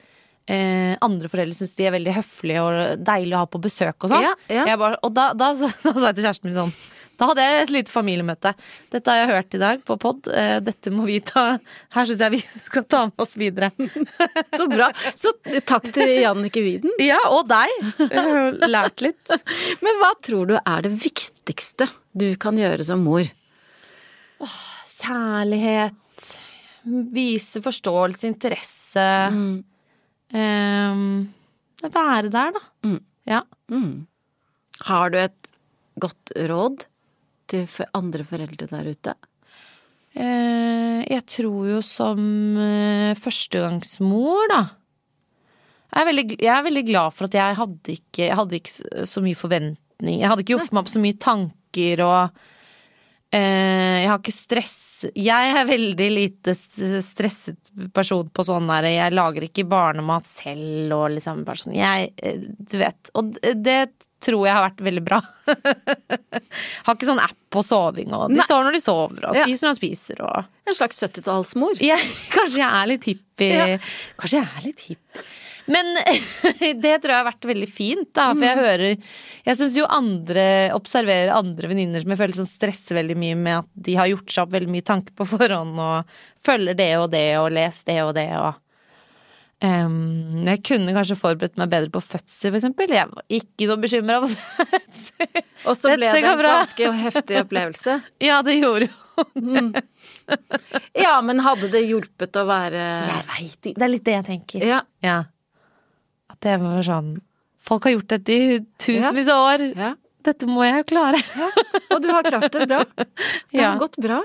C: eh, andre foreldre syns de er veldig høflige og deilige å ha på besøk og sånn.
B: Ja, ja.
C: Jeg bare, og da, da, da sa jeg til kjæresten min sånn da hadde jeg et lite familiemøte. Dette har jeg hørt i dag på pod. Eh, Dette må vi ta Her syns jeg vi skal ta med oss videre.
B: Så bra. Så takk til Jannicke Widen.
C: Ja, og deg. Jeg har lært litt.
B: Men hva tror du er det viktigste du kan gjøre som mor?
C: Kjærlighet. Vise forståelse, interesse. Mm. Ehm, det er være der, da. Ja.
B: Har du et godt råd til for- andre foreldre der ute?
C: Eh, jeg tror jo som eh, førstegangsmor, da jeg er, veldig, jeg er veldig glad for at jeg hadde ikke, jeg hadde ikke s- så mye forventning. Jeg hadde ikke gjort meg opp så mye tanker og eh, Jeg har ikke stress Jeg er veldig lite st- stresset person på sånn der Jeg lager ikke barnemat selv og liksom bare sånn Jeg eh, Du vet. Og d- det tror jeg har vært veldig bra. har ikke sånn app på soving og De
B: Nei.
C: sover når de sover og
B: Ja.
C: spiser når de spiser og
B: En slags 70-tallsmor.
C: jeg, kanskje jeg er litt hippie.
B: Ja.
C: Kanskje jeg er litt hippie. Men det tror jeg har vært veldig fint, da. For jeg hører Jeg syns jo andre observerer andre venninner som jeg føler som stresser veldig mye med at de har gjort seg opp veldig mye tanker på forhånd og følger det og det og leser det og det og Em, Jeg kunne kanskje forberedt meg bedre på fødsel, for eksempel. Jeg var ikke noe bekymra for fødsel.
B: Og så ble
C: Dette
B: det
C: går
B: en
C: bra.
B: ganske heftig opplevelse.
C: Ja, det gjorde jo
B: Ja, men hadde det hjulpet å være
C: Jeg veit ikke. Det er litt det jeg tenker.
B: Ja.
C: Ja. At det var sånn Folk har gjort dette i tusenvis av år.
B: ja.
C: Dette må jeg jo klare.
B: Og du har klart det bra. Det
C: Ja.
B: har gått bra.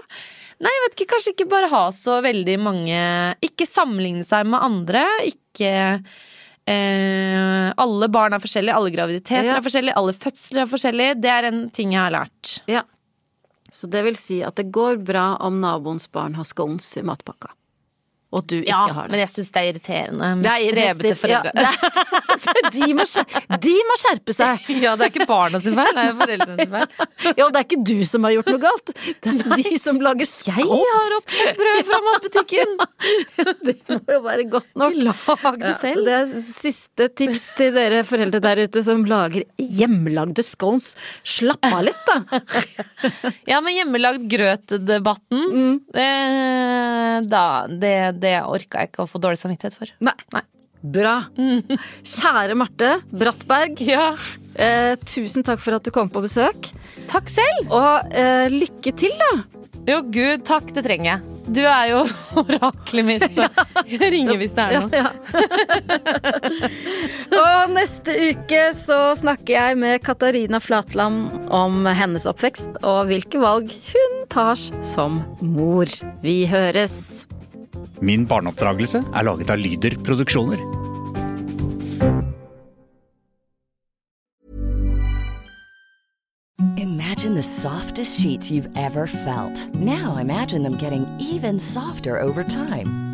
C: Nei, jeg vet ikke. Kanskje ikke bare ha så veldig mange Ikke sammenligne seg med andre. Ikke eh, alle barn er forskjellige, alle graviditeter
B: Ja.
C: er forskjellige, alle fødsler er forskjellige. Det er en ting jeg har lært.
B: Ja. Så det vil si at det går bra om naboens barn har scones i matpakka. Og du ikke har det.
C: Men jeg syns det er irriterende med
B: Det er
C: strebete
B: irriterende.
C: foreldre.
B: Ja, det er- de, må skjerpe, de må skjerpe seg!
C: Ja, det er ikke barna sin feil, det er foreldrene sin feil.
B: Jo, det er ikke du som har gjort noe galt. Det er de som lager
C: Jeg har
B: scones.
C: oppkjøpt brød fra matbutikken!
B: Det må jo være godt nok.
C: Lag
B: Ja,
C: det
B: så
C: selv.
B: det er siste tips til dere foreldre der ute som lager hjemmelagde scones. Slapp av litt, da!
C: Ja, men hjemmelagd grøt-debatten, eh, da Det, det orka jeg ikke å få dårlig samvittighet for.
B: Nei. Bra. Kjære Marte Brattberg,
C: Mm. Ja,
B: eh, tusen takk for at du kom på besøk.
C: takk selv!
B: Og eh, lykke til, da!
C: Jo, gud, takk, det trenger jeg. Du er jo oraklet mitt, så jeg ringer hvis det er noe.
B: Ja. og neste uke så snakker jeg med Katarina Flatland om hennes oppvekst og hvilke valg hun tar som mor. Vi høres!
F: Min barneoppdragelse er laget av Lyder Produksjoner.
G: Imagine the softest sheets you've ever felt. Now imagine them getting even softer over time.